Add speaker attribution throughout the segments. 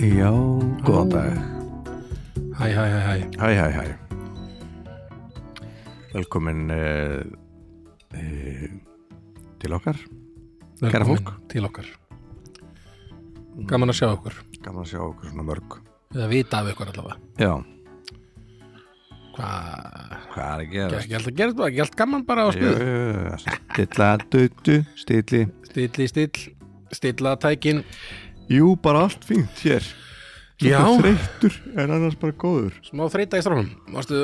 Speaker 1: Já, góðan dag
Speaker 2: Hæ, hæ, hæ, hæ.
Speaker 1: Hæ, hæ, hæ Velkomin uh, uh, til okkar Kæra
Speaker 2: Velkomin
Speaker 1: fólk.
Speaker 2: Til okkar. Gaman að sjá okkur.
Speaker 1: Gaman að sjá okkur svona mörg
Speaker 2: Eða vita af ykkur allavega.
Speaker 1: Já,
Speaker 2: Hvað?
Speaker 1: hvað er ekki að
Speaker 2: Ekki alltaf gerðist bara, ekki alltaf gaman bara á stuð.
Speaker 1: gerast? Stilla, duttu, stilli
Speaker 2: Stilli, still, stilla tækin.
Speaker 1: Jú, bara allt fínt hér
Speaker 2: Já.
Speaker 1: Þreyttur en annars bara góður
Speaker 2: Smá þreita í strónum. Varstu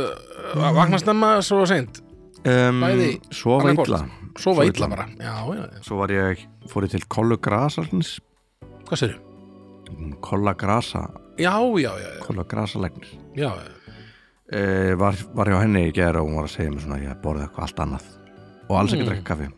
Speaker 2: að vakna snemma svo seint.
Speaker 1: um,
Speaker 2: Bæði,
Speaker 1: Svo var
Speaker 2: annað
Speaker 1: illa
Speaker 2: Sofa
Speaker 1: Svo
Speaker 2: illa
Speaker 1: illa.
Speaker 2: bara. Já, já, já.
Speaker 1: Svo var ég, fór ég til Kollu Grasalins
Speaker 2: Hvað sérðu?
Speaker 1: Kolla Grasa,
Speaker 2: Já, já, já, já.
Speaker 1: Kolla Grasalegnir
Speaker 2: já. já.
Speaker 1: uh, var, var hjá henni í gera og hún var að segja mér svona að ég borði eitthvað allt annað og alls
Speaker 2: Mm.
Speaker 1: ekki drekka kaffi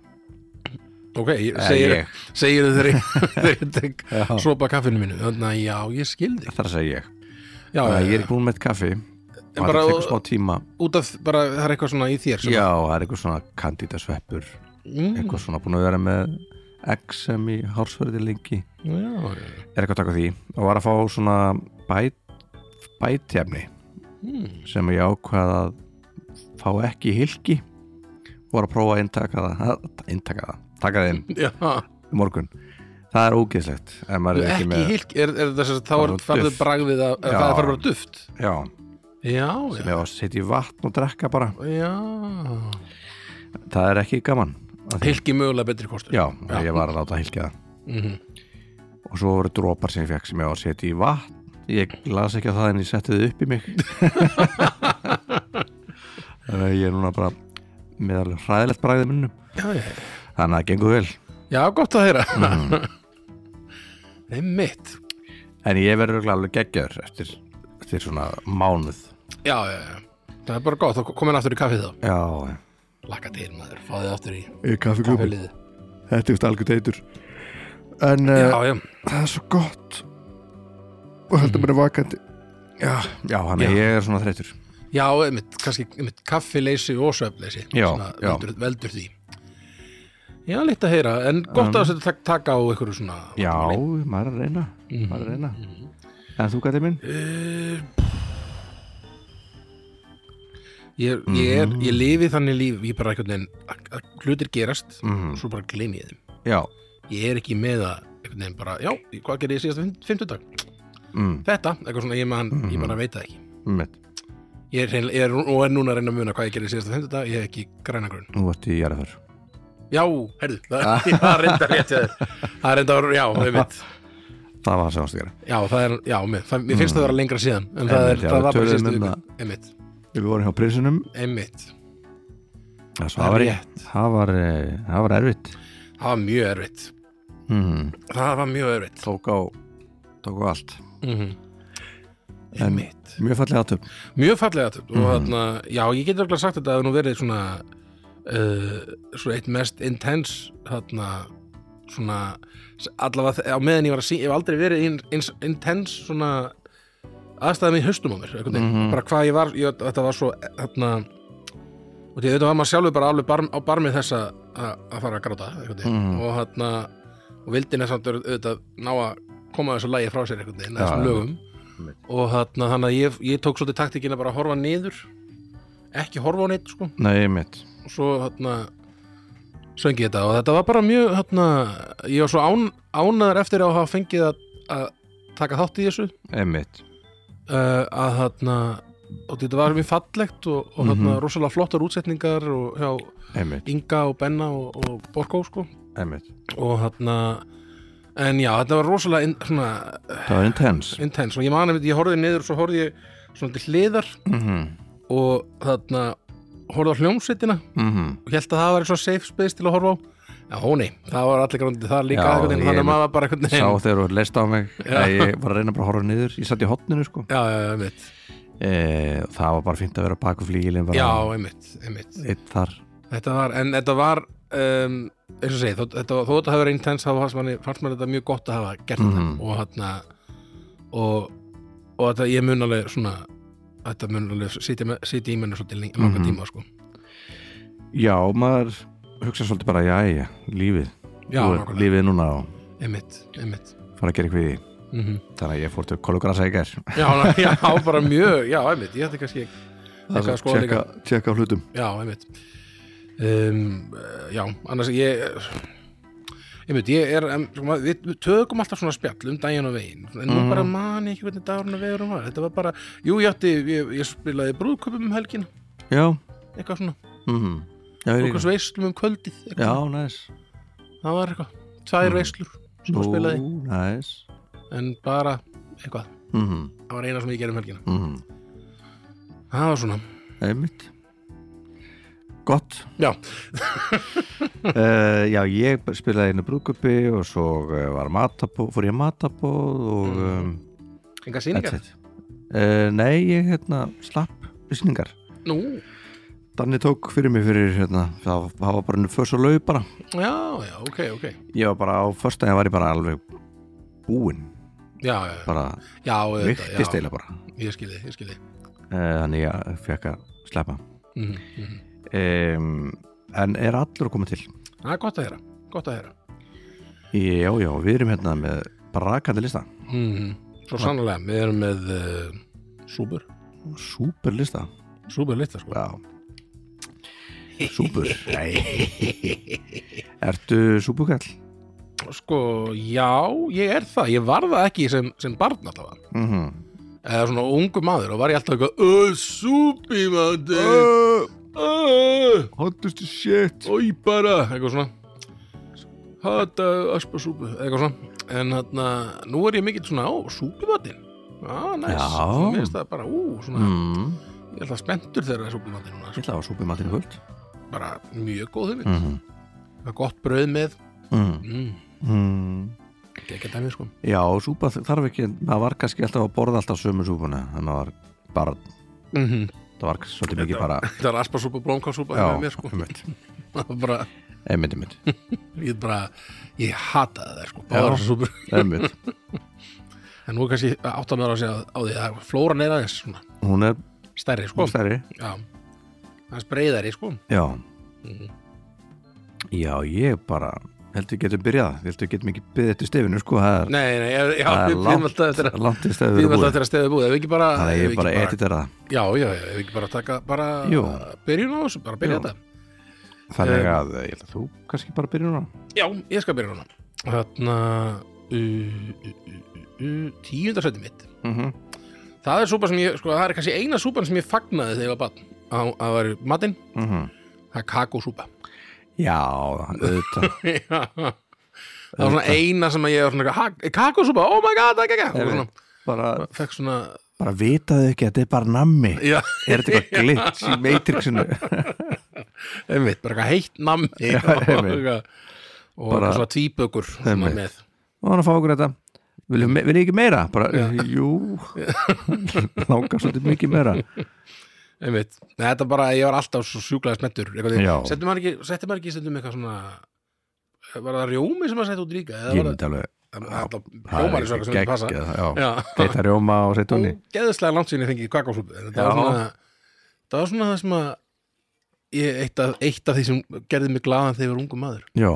Speaker 2: Ok, ég- segir,
Speaker 1: ég.
Speaker 2: segir þeir þeir tek
Speaker 1: Já.
Speaker 2: sopa kaffinu mínu. Þannig að já, ég skildi.
Speaker 1: það er að segja ég,
Speaker 2: Já,
Speaker 1: Þannig
Speaker 2: já,
Speaker 1: að ég er
Speaker 2: já.
Speaker 1: ekki búin með kaffi og það
Speaker 2: bara-
Speaker 1: tekur smá tíma
Speaker 2: Út af bara, það er eitthvað svona í þér. sem-
Speaker 1: já, það er eitthvað svona kandidasveppur
Speaker 2: Mm,
Speaker 1: eitthvað svona búin að vera með X sem í hársverði lengi
Speaker 2: já, já, já.
Speaker 1: er eitthvað að taka því og var að fá svona bæt, bætjefni
Speaker 2: Mm.
Speaker 1: sem ég ákvað að fá ekki í hilki og var að prófa að inntaka það inntaka það, taka það inn
Speaker 2: Já,
Speaker 1: í morgun það er ógeðslegt ef maður er
Speaker 2: ekki
Speaker 1: ekki með
Speaker 2: hilk er, er þess að þá er
Speaker 1: Bara
Speaker 2: farður
Speaker 1: duft.
Speaker 2: bragðið að að
Speaker 1: Já.
Speaker 2: það er farður bara duft
Speaker 1: já, sem
Speaker 2: Já, já,
Speaker 1: ég á að setja í vatn og drekka bara
Speaker 2: já
Speaker 1: það er ekki gaman Af því-
Speaker 2: Hilki mögulega betri kostur
Speaker 1: já,
Speaker 2: Já.
Speaker 1: ég var að láta hilkja það
Speaker 2: Mhm.
Speaker 1: og svo voru dropar sem ég fekk sem ég á að setja í vatn ég las ekki á það en ég setti þið upp í mig þannig að ég er núna bara með alveg hræðilegt bragðið munnum
Speaker 2: já, já,
Speaker 1: þannig að það gengur vel
Speaker 2: já, gott að heyra
Speaker 1: Mhm.
Speaker 2: Nei, mitt
Speaker 1: en ég verður örugglega alveg geggjaður eftir, eftir svona mánuð
Speaker 2: Já, já, já Það er bara gott, þá komin aftur í kaffið þá
Speaker 1: já,
Speaker 2: Laka til maður, fáðið aftur í
Speaker 1: í kaffiklubin
Speaker 2: kaffiliði
Speaker 1: þetta er algjör teitur en eh,
Speaker 2: Já, já,
Speaker 1: það er svo gott og heldur mér vakandi Mm. já, já hann er,
Speaker 2: Já.
Speaker 1: ég er svona þreytur
Speaker 2: já, mitt, kannski mitt kaffileysi og svefleysi
Speaker 1: Já,
Speaker 2: Svona
Speaker 1: já.
Speaker 2: veldur, veldur því Já, líkt að heyra, en gott að þetta tak- taka á einhverju svona
Speaker 1: Um. já, maður er að reyna maður er að reyna en þú gæti minn
Speaker 2: ég, ég, er,
Speaker 1: Mhm.
Speaker 2: ég lifi þannig líf ég bara einhvern veginn að- að hlutir gerast
Speaker 1: Mhm.
Speaker 2: og svo bara gleymi ég þeim
Speaker 1: já,
Speaker 2: ég er ekki með að einhvern veginn bara já, hvað gerði ég síðast fimmtudag
Speaker 1: mm,
Speaker 2: þetta, eitthvað svona, ég, man, ég
Speaker 1: Mhm.
Speaker 2: bara veit það ekki
Speaker 1: mitt
Speaker 2: ég er, hreinlega- ég er, og er núna að reyna að muna hvað ég gerði síðast fimmtudag ég hef ekki græna grunn
Speaker 1: nú ætti ég að það
Speaker 2: já, herðu, það, það er reynda rétt hjá þér. það er reynda, já, við mitt
Speaker 1: það var það sem varst að gera
Speaker 2: já, það er, já, mér, það, mér finnst það að vera lengra síðan en það,
Speaker 1: Mhm. Einmitt,
Speaker 2: er,
Speaker 1: já,
Speaker 2: það
Speaker 1: við
Speaker 2: var bara
Speaker 1: töluðum
Speaker 2: síðast
Speaker 1: um
Speaker 2: viku
Speaker 1: það.
Speaker 2: einmitt,
Speaker 1: við vorum hjá prinsinum
Speaker 2: einmitt
Speaker 1: það, svavari.
Speaker 2: rétt.
Speaker 1: það, var, eh, það var erfitt
Speaker 2: það var mjög erfitt
Speaker 1: mm.
Speaker 2: það var mjög erfitt
Speaker 1: tók á tók á allt
Speaker 2: mm Mhm. einmitt
Speaker 1: mjög fallið aðtöp
Speaker 2: Mjög fallega aðtöpt og
Speaker 1: Mhm.
Speaker 2: þarna, já, ég getur okkur sagt að þetta að nú verið svona uh, svona eitt mest intense þarna, svona allavega þe- á meðan ég var að sín, ég hef aldrei verið in, in, intense svona aðstæðum í haustum á mér, einhvern veginn,
Speaker 1: Mhm.
Speaker 2: bara hvað ég var ég, þetta var svo, þarna og því þetta var maður sjálfur bara alveg bar, á barmið þess að að- að fara að gráta einhvern veginn,
Speaker 1: Mhm.
Speaker 2: og þarna og vildi nefnt auðvitað ná að koma þessu lægi frá sér einhvern veginn,
Speaker 1: Já,
Speaker 2: þessum
Speaker 1: já.
Speaker 2: lögum og þarna, þannig að ég, ég tók svolítið taktikina bara að horfa niður ekki horfa á neitt sko
Speaker 1: nei, mitt
Speaker 2: og svo þarna söng ég þetta og þetta var bara mjög þarna, ég var svo án, ánaður eftir að hafa fengið að, að taka þátt í þessu uh,
Speaker 1: Einmitt.
Speaker 2: að þarna og þetta var mjög fallegt og, og þarna rosalega flottar útsetningar og hjá
Speaker 1: Einmitt.
Speaker 2: Inga og Benna og, og Borkó sko
Speaker 1: Einmitt.
Speaker 2: og þarna en já, þetta var rosalega in, svona,
Speaker 1: það var intense
Speaker 2: intense og ég man að ég horfði niður og svo horfði ég svona til hliðar
Speaker 1: mhm,
Speaker 2: og þarna horfði á hljómsveitina
Speaker 1: mhm.
Speaker 2: og held að það var svona safe space til að horfa á já, ó nei, það var allir grándið það líka
Speaker 1: Já,
Speaker 2: einhvern veginn,
Speaker 1: ég
Speaker 2: þannig að maður var bara einhvern
Speaker 1: sá
Speaker 2: veginn
Speaker 1: þegar þú leist á mig að ég var að reyna bara að horfa niður ég satt í hotninu sko
Speaker 2: já, já, já, einmitt,
Speaker 1: e, það var bara fínt að vera baku flígilin
Speaker 2: já,
Speaker 1: bara
Speaker 2: einmitt, einmitt.
Speaker 1: eitt þar
Speaker 2: þetta var, en þetta var um, eins og segi, þó, þetta, þó þetta hafa verið intense þá fannst manni, fannst manni þetta mjög gott að hafa gert
Speaker 1: Mhm.
Speaker 2: þetta og þarna og, og þetta, ég mun alveg svona þetta mun alveg sitja, með- sitja í menni svo til langa
Speaker 1: Mhm.
Speaker 2: tíma, sko
Speaker 1: já, maður hugsa svolítið bara, já, já, lífið
Speaker 2: já,
Speaker 1: Nú er
Speaker 2: nákvæmlega,
Speaker 1: lífið núna og
Speaker 2: einmitt, einmitt
Speaker 1: fara að gera eitthvað í því
Speaker 2: mm
Speaker 1: þannig að ég fór til kolugrasa í gær
Speaker 2: já, ná- já, bara mjög já, einmitt, ég ætti kannski
Speaker 1: Það
Speaker 2: eitthvað
Speaker 1: er
Speaker 2: að skoða líka
Speaker 1: tjekka, tjekka á hlutum
Speaker 2: já, einmitt um, eh, já, annars ég einmitt, ég er em, sko, maður- við, við tökum alltaf svona spjall um daginn og veginn en
Speaker 1: Mhm.
Speaker 2: nú bara mani ekki hvernig dagurinn og vegurum var þetta var bara, jú, ég átti ég, ég spilaði brúðköpum um helgin
Speaker 1: Já,
Speaker 2: eitthvað svona,
Speaker 1: mhm Já, ég
Speaker 2: brúðköps veislum um kvöldið eitthvað.
Speaker 1: Já, Mhm. næs
Speaker 2: það var eitthvað, tvær veislur sem maður spilaði,
Speaker 1: Ú, Næs
Speaker 2: en bara eitthvað,
Speaker 1: Mhm,
Speaker 2: það var eina sem ég gerði um helgina
Speaker 1: mhm
Speaker 2: það var svona,
Speaker 1: Einmitt Gott
Speaker 2: já,
Speaker 1: uh, Já, ég spilaði einu brúkupi og svo eh, var matabóð fór ég að matabóð og
Speaker 2: Mm.
Speaker 1: um,
Speaker 2: enga sýningar
Speaker 1: uh, Nei, ég hérna slapp sýningar
Speaker 2: nú,
Speaker 1: Danni tók fyrir mig fyrir hérna, það var- það var bara ennum förs og laug bara
Speaker 2: já, já, ok, ok
Speaker 1: Ég var bara á föstudaginn var ég bara alveg búinn
Speaker 2: já, já, já,
Speaker 1: bara
Speaker 2: já, auðvitað,
Speaker 1: viktist
Speaker 2: já
Speaker 1: eiginlega bara
Speaker 2: ég skilði, ég skilði
Speaker 1: uh, þannig ég fekk að sleppa
Speaker 2: mm -hmm.
Speaker 1: um, en er allur að koma til
Speaker 2: Það er gott að heyra, gott að heyra
Speaker 1: já já, við erum hérna með brakandi lista,
Speaker 2: mm. Svo sannlega, við erum með uh, súbur,
Speaker 1: súper lista
Speaker 2: súbur lita sko
Speaker 1: já súper Nei. ertu súpukall
Speaker 2: Sko, já, ég er það, ég var það ekki sem, sem barn alltaf
Speaker 1: mm -hmm.
Speaker 2: eða svona ungu maður og var ég alltaf eitthvað Ö, súbi maður Ö,
Speaker 1: hottust shit
Speaker 2: Í bara, eitthvað svona Hata aspa súbu, eitthvað svona En þarna, nú er ég mikill svona á súbimatinn Já, næs,
Speaker 1: Já.
Speaker 2: Svona, mér finnst það bara, ú, svona
Speaker 1: mm,
Speaker 2: Ég er alltaf spenntur þegar það er súbimatinn núna
Speaker 1: ég
Speaker 2: sko.
Speaker 1: ætla á súpumatinn í kvöld
Speaker 2: Bara mjög góð hugmynd
Speaker 1: mm -hmm.
Speaker 2: Það er gott brauð með
Speaker 1: mm.
Speaker 2: mm,
Speaker 1: Mm.
Speaker 2: Ekki að dæmi, sko
Speaker 1: já, súpa þarf ekki maður var kannski alltaf að borða alltaf sömu súpuna en maður var bara
Speaker 2: mm -hmm.
Speaker 1: það var svolítið mikið bara
Speaker 2: Það er aspasúpa, blómkálsúpa
Speaker 1: Mhm. Já,
Speaker 2: með mér, sko
Speaker 1: einmitt.
Speaker 2: Það var bara,
Speaker 1: einmitt, einmitt,
Speaker 2: ég bara Ég hataði það, sko,
Speaker 1: Já.
Speaker 2: báðar þessar súpur
Speaker 1: einmitt.
Speaker 2: En nú er kannski átt að mér á sig á því að flóran er aðeins svona
Speaker 1: hún er
Speaker 2: stærri, sko
Speaker 1: stærri
Speaker 2: Já, aðeins breiðari, sko
Speaker 1: já,
Speaker 2: Mhm.
Speaker 1: já ég bara held við getum byrjað, ég held við getum ekki byrjað eftir stefinu sko, það er,
Speaker 2: Nei, nei, já, já
Speaker 1: það
Speaker 2: við
Speaker 1: er
Speaker 2: byrjum
Speaker 1: langt,
Speaker 2: alltaf eftir að
Speaker 1: langt í
Speaker 2: Við
Speaker 1: stefinu
Speaker 2: erum alltaf
Speaker 1: búið,
Speaker 2: eftir að stefið búið, ef við ekki bara
Speaker 1: þannig að
Speaker 2: ef
Speaker 1: ég
Speaker 2: við
Speaker 1: bara
Speaker 2: ekki
Speaker 1: editera það,
Speaker 2: Já, já, já, ef við ekki bara taka bara
Speaker 1: Jú.
Speaker 2: Byrjun á þessu, bara byrja
Speaker 1: Jú.
Speaker 2: þetta
Speaker 1: þannig að ég held að þú kannski bara byrja núna
Speaker 2: Já, ég skal byrja núna Þarna uh, uh, uh, uh, uh, Tíundarsæti mitt
Speaker 1: mm -hmm.
Speaker 2: Það er súpa sem ég, sko, það er kannski eina súpan sem ég fagnaði þegar ég var barn Á- Það var matinn,
Speaker 1: Mhm.
Speaker 2: það er kakósúpa
Speaker 1: já, auðvitað
Speaker 2: Já. Það var svona eina sem að ég var svona eitthvað, "Ha- Kakósúpa, oh my god, ekki, ekki Og svona,
Speaker 1: bara,
Speaker 2: fekk svona
Speaker 1: bara vitaðu ekki að þetta er bara nammi
Speaker 2: Já,
Speaker 1: er þetta eitthvað glitch í Matrixinu
Speaker 2: einmitt, bara eitthvað heitt nammi
Speaker 1: Já,
Speaker 2: og
Speaker 1: einmitt.
Speaker 2: eitthvað- og
Speaker 1: Bara-
Speaker 2: eitthvað svona tvíbökur svona
Speaker 1: Einmitt.
Speaker 2: með
Speaker 1: og hann að fá okkur þetta viljum vil ekki meira, bara, jú langar svolítið mikið meira
Speaker 2: einmitt, Nei, þetta bara, ég var alltaf svo sjúklaði smettur
Speaker 1: Já.
Speaker 2: setti maður ekki, setti maður ekki stundum eitthvað svona var það rjómi sem maður setti út líka eða
Speaker 1: ég
Speaker 2: var
Speaker 1: myndi alveg
Speaker 2: það það er alltaf rjómar í svo eitthvað sem þetta passa
Speaker 1: passa
Speaker 2: Já.
Speaker 1: Leita rjóma og setja honni
Speaker 2: og geðislega langt síðan ég fengið kakásúpu en þetta
Speaker 1: Já.
Speaker 2: var svona það var svona það sem að ég, eitt, af, eitt af því sem gerði mig glaðan þegar ég var ungu maður
Speaker 1: Já,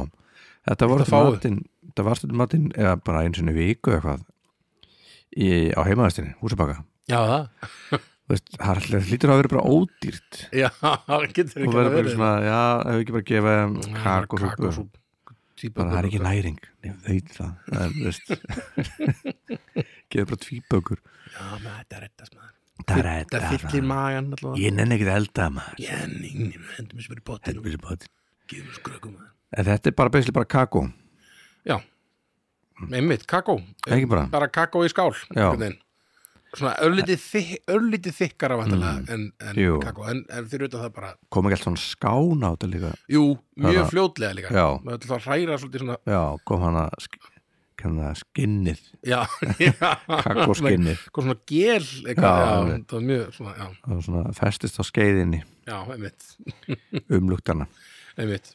Speaker 1: þetta var
Speaker 2: að fáu.
Speaker 1: matinn Þetta var stundum matinn eða bara eins og viku eitthvað í, á heimaðastinni, húsabaka
Speaker 2: já það
Speaker 1: Þú veist, Það er alltaf- hlýtur að vera bara ódýrt
Speaker 2: já, það getur
Speaker 1: og
Speaker 2: ekki Mm,
Speaker 1: verður
Speaker 2: að
Speaker 1: bara
Speaker 2: vera
Speaker 1: svona, já, hefur ekki bara gefa þeim kakosúpu bara það er ekki
Speaker 2: næ
Speaker 1: næring Nei, þau veit það, það er, þú veist gefa bara tvíbökur
Speaker 2: já, maður, þetta er þetta smaður
Speaker 1: Það er þetta
Speaker 2: þetta fyllir magan allavega
Speaker 1: Ég nenni ekki að elda maður
Speaker 2: ég er nýni, hendur mér sem verið bóttir og
Speaker 1: Helvíti pottur.
Speaker 2: gefur skrökum maður
Speaker 1: En þetta er bara, basically bara kakó
Speaker 2: já, einmitt, kakó
Speaker 1: Mm. Ekki bara,
Speaker 2: bara kakó í skál
Speaker 1: Já.
Speaker 2: einhvern veginn. svona örlítið, þik, örlítið þykkara vantilega en,
Speaker 1: Mm. Jú.
Speaker 2: en kakó en, en fyrir utan það bara
Speaker 1: kom ekki allt svona skána á þetta líka
Speaker 2: Jú, mjög
Speaker 1: Þarna-
Speaker 2: fljótlega líka
Speaker 1: Já.
Speaker 2: Maður ætla að hræra svolítið svona
Speaker 1: Já, kom hann að sk- kom hann að skinnið,
Speaker 2: Já, já Svona-
Speaker 1: kakóskinnið
Speaker 2: eitthvað svona gel eitthvað,
Speaker 1: Já,
Speaker 2: já,
Speaker 1: einmitt.
Speaker 2: það var mjög svona, já,
Speaker 1: og svona festist á skeiðinni
Speaker 2: já, einmitt
Speaker 1: umlugtana
Speaker 2: einmitt,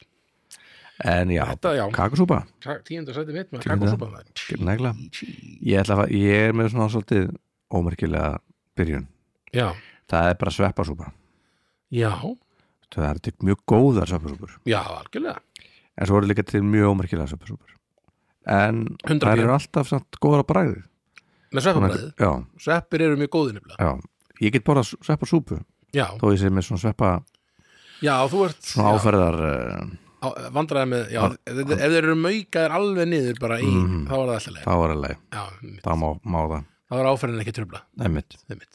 Speaker 1: en já,
Speaker 2: þetta, já,
Speaker 1: kakosúpa
Speaker 2: tíunda sæti mitt með
Speaker 1: Tíunda.
Speaker 2: kakosúpa
Speaker 1: negla. ég, ætla að fa- ég er með svona svolítið ómerkilega byrjun
Speaker 2: Já,
Speaker 1: það er bara sveppasúpa
Speaker 2: já,
Speaker 1: það er til mjög góðar sveppasúpur
Speaker 2: já, algjörlega
Speaker 1: en svo eru líka til mjög ómerkilega sveppasúpur en
Speaker 2: 100
Speaker 1: það
Speaker 2: bíl,
Speaker 1: eru alltaf samt góðar að bræði
Speaker 2: með sveppabræðið,
Speaker 1: já,
Speaker 2: sveppir eru mjög góði nefnilega
Speaker 1: já Ég get borðað sveppa súpu
Speaker 2: já,
Speaker 1: þó ég sé með svona sveppa
Speaker 2: já, þú ert
Speaker 1: svona
Speaker 2: já,
Speaker 1: áferðar uh,
Speaker 2: á- vandræði með, já, ef, þeir- ef þeir eru maukaðir alveg niður bara í,
Speaker 1: Mhm.
Speaker 2: þá er það alltaf leið
Speaker 1: þá er alveg,
Speaker 2: já,
Speaker 1: þá má, má það
Speaker 2: þá er áferðin ekki tröfla
Speaker 1: einmitt
Speaker 2: einmitt,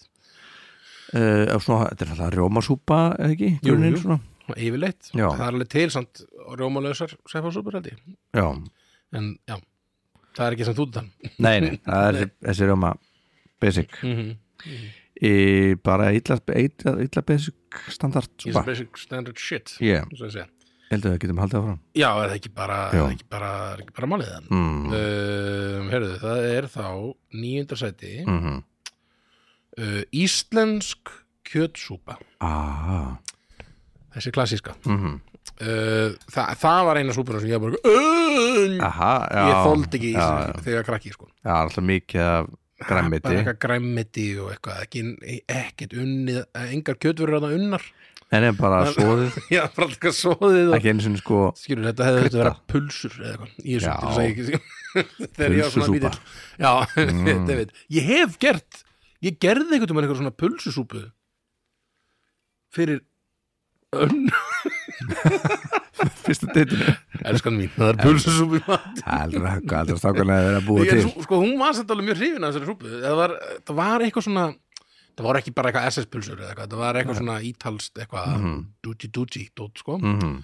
Speaker 1: uh, ef svona, Þetta er alltaf rjómasúpa eða ekki?
Speaker 2: Jú,
Speaker 1: Grunin
Speaker 2: jú.
Speaker 1: svona?
Speaker 2: Svona yfirleitt
Speaker 1: Já.
Speaker 2: það er alveg til samt rjómalausar sveppasúpur held ég,
Speaker 1: Já,
Speaker 2: en já það er ekki sem þú þann
Speaker 1: nei, nei, það er þessi rjóma basic
Speaker 2: mm -hmm.
Speaker 1: í, bara illa, illa, illa basic standard
Speaker 2: It's
Speaker 1: súpa
Speaker 2: basic standard shit
Speaker 1: Ég
Speaker 2: eins og ég segja.
Speaker 1: held að við getum haldið áfram
Speaker 2: já, er það ekki bara, er
Speaker 1: Já.
Speaker 2: það ekki bara, er ekki bara málið þann
Speaker 1: mm.
Speaker 2: Um, herðu, það er þá nýjunda sæti
Speaker 1: mm -hmm.
Speaker 2: uh, Íslensk kjötsúpa Eh.
Speaker 1: ah.
Speaker 2: þessi klassíska
Speaker 1: mm
Speaker 2: uh, þa það var eina súpuna sem ég bara uh,
Speaker 1: Aha, Ah, já,
Speaker 2: ég þoldi ekki
Speaker 1: já,
Speaker 2: íslensk
Speaker 1: já.
Speaker 2: þegar ég var krakki sko.
Speaker 1: Já, alltaf mikið af græmiti
Speaker 2: bara eitthvað græmmiti og eitthvað ekki, ekkert unnið, eh, engar kjötverur að það unnar
Speaker 1: en er bara svoðið
Speaker 2: já, bara eitthvað svoðið og
Speaker 1: ekki einu sinni sko
Speaker 2: skilur þetta hefði
Speaker 1: Krydda.
Speaker 2: þetta verið pulsur eða eitthvað í þessu
Speaker 1: Já.
Speaker 2: til þess að ég þegar ég var svona
Speaker 1: Pulsusúpa.
Speaker 2: lítill já, mm. David, ég hef gert ég gerði einhvern veginn eitthvað svona pulsusúpu fyrir önn
Speaker 1: fyrstu deytinu
Speaker 2: elskan mín, það er pulsusúpu í mat
Speaker 1: Aldrei hakka, aldrei stákulega að vera að búa
Speaker 2: Ég er
Speaker 1: til
Speaker 2: svo- sko, hún var samt alveg mjög hrifin af þessari súpu það var, það var eitthvað svona það var ekki bara eitthvað SS-pulsur eða eitthvað það var eitthvað svona ítalst eitthvað
Speaker 1: Mhm.
Speaker 2: mm. duji-duji, dót sko
Speaker 1: mm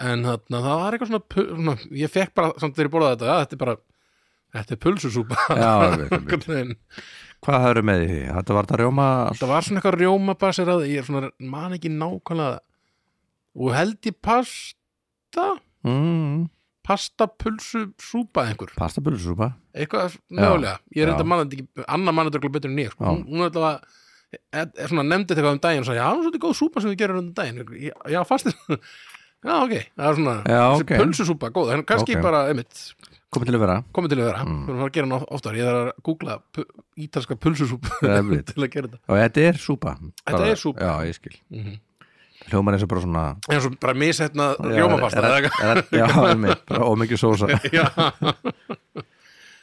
Speaker 2: en þarna, það var eitthvað svona, pu- svona ég fekk bara, samt þegar ég borðaði þetta ja, þetta er bara, þetta er pulsusúpa
Speaker 1: Já, einmitt, einmitt.
Speaker 2: Einhvern veginn.
Speaker 1: Hvað hafður með í því? Þetta var þetta rjóma
Speaker 2: það var svona eitthvað rjóma baserað ég er svona, man ekki nákvæmlega og held ég pasta
Speaker 1: mm,
Speaker 2: pasta pulsusúpa einhver
Speaker 1: pastabölusúpa
Speaker 2: eitthvað mögulega, ég
Speaker 1: já.
Speaker 2: er reynda mann þetta ekki, annar mann þetta er betur en ég sko.
Speaker 1: Já.
Speaker 2: hún, hún er alltaf að er svona nefndi þetta eitthvað um daginn og sagði, já, það er svolítið góð súpa sem við gerum um daginn já, já fastir já, ok, það er svona
Speaker 1: Já,
Speaker 2: þessi
Speaker 1: ok.
Speaker 2: pulsusúpa, góð, en kannski
Speaker 1: Ok.
Speaker 2: bara einmitt,
Speaker 1: Komið til að vera
Speaker 2: komið til að vera,
Speaker 1: Mm.
Speaker 2: við erum að gera hann oftar ég þarf að googla pu- ítalska pulsusúp
Speaker 1: Einmitt.
Speaker 2: til að gera þetta
Speaker 1: Og þetta er súpa
Speaker 2: Þetta
Speaker 1: Bara-
Speaker 2: er súpa.
Speaker 1: Já, ég skil
Speaker 2: mm -hmm.
Speaker 1: Hljómar eins og bara svona
Speaker 2: eins og bara mishetna rjómapasta eða
Speaker 1: er,
Speaker 2: eitthvað.
Speaker 1: er, Já, einmitt, bara ómikið sósa
Speaker 2: já,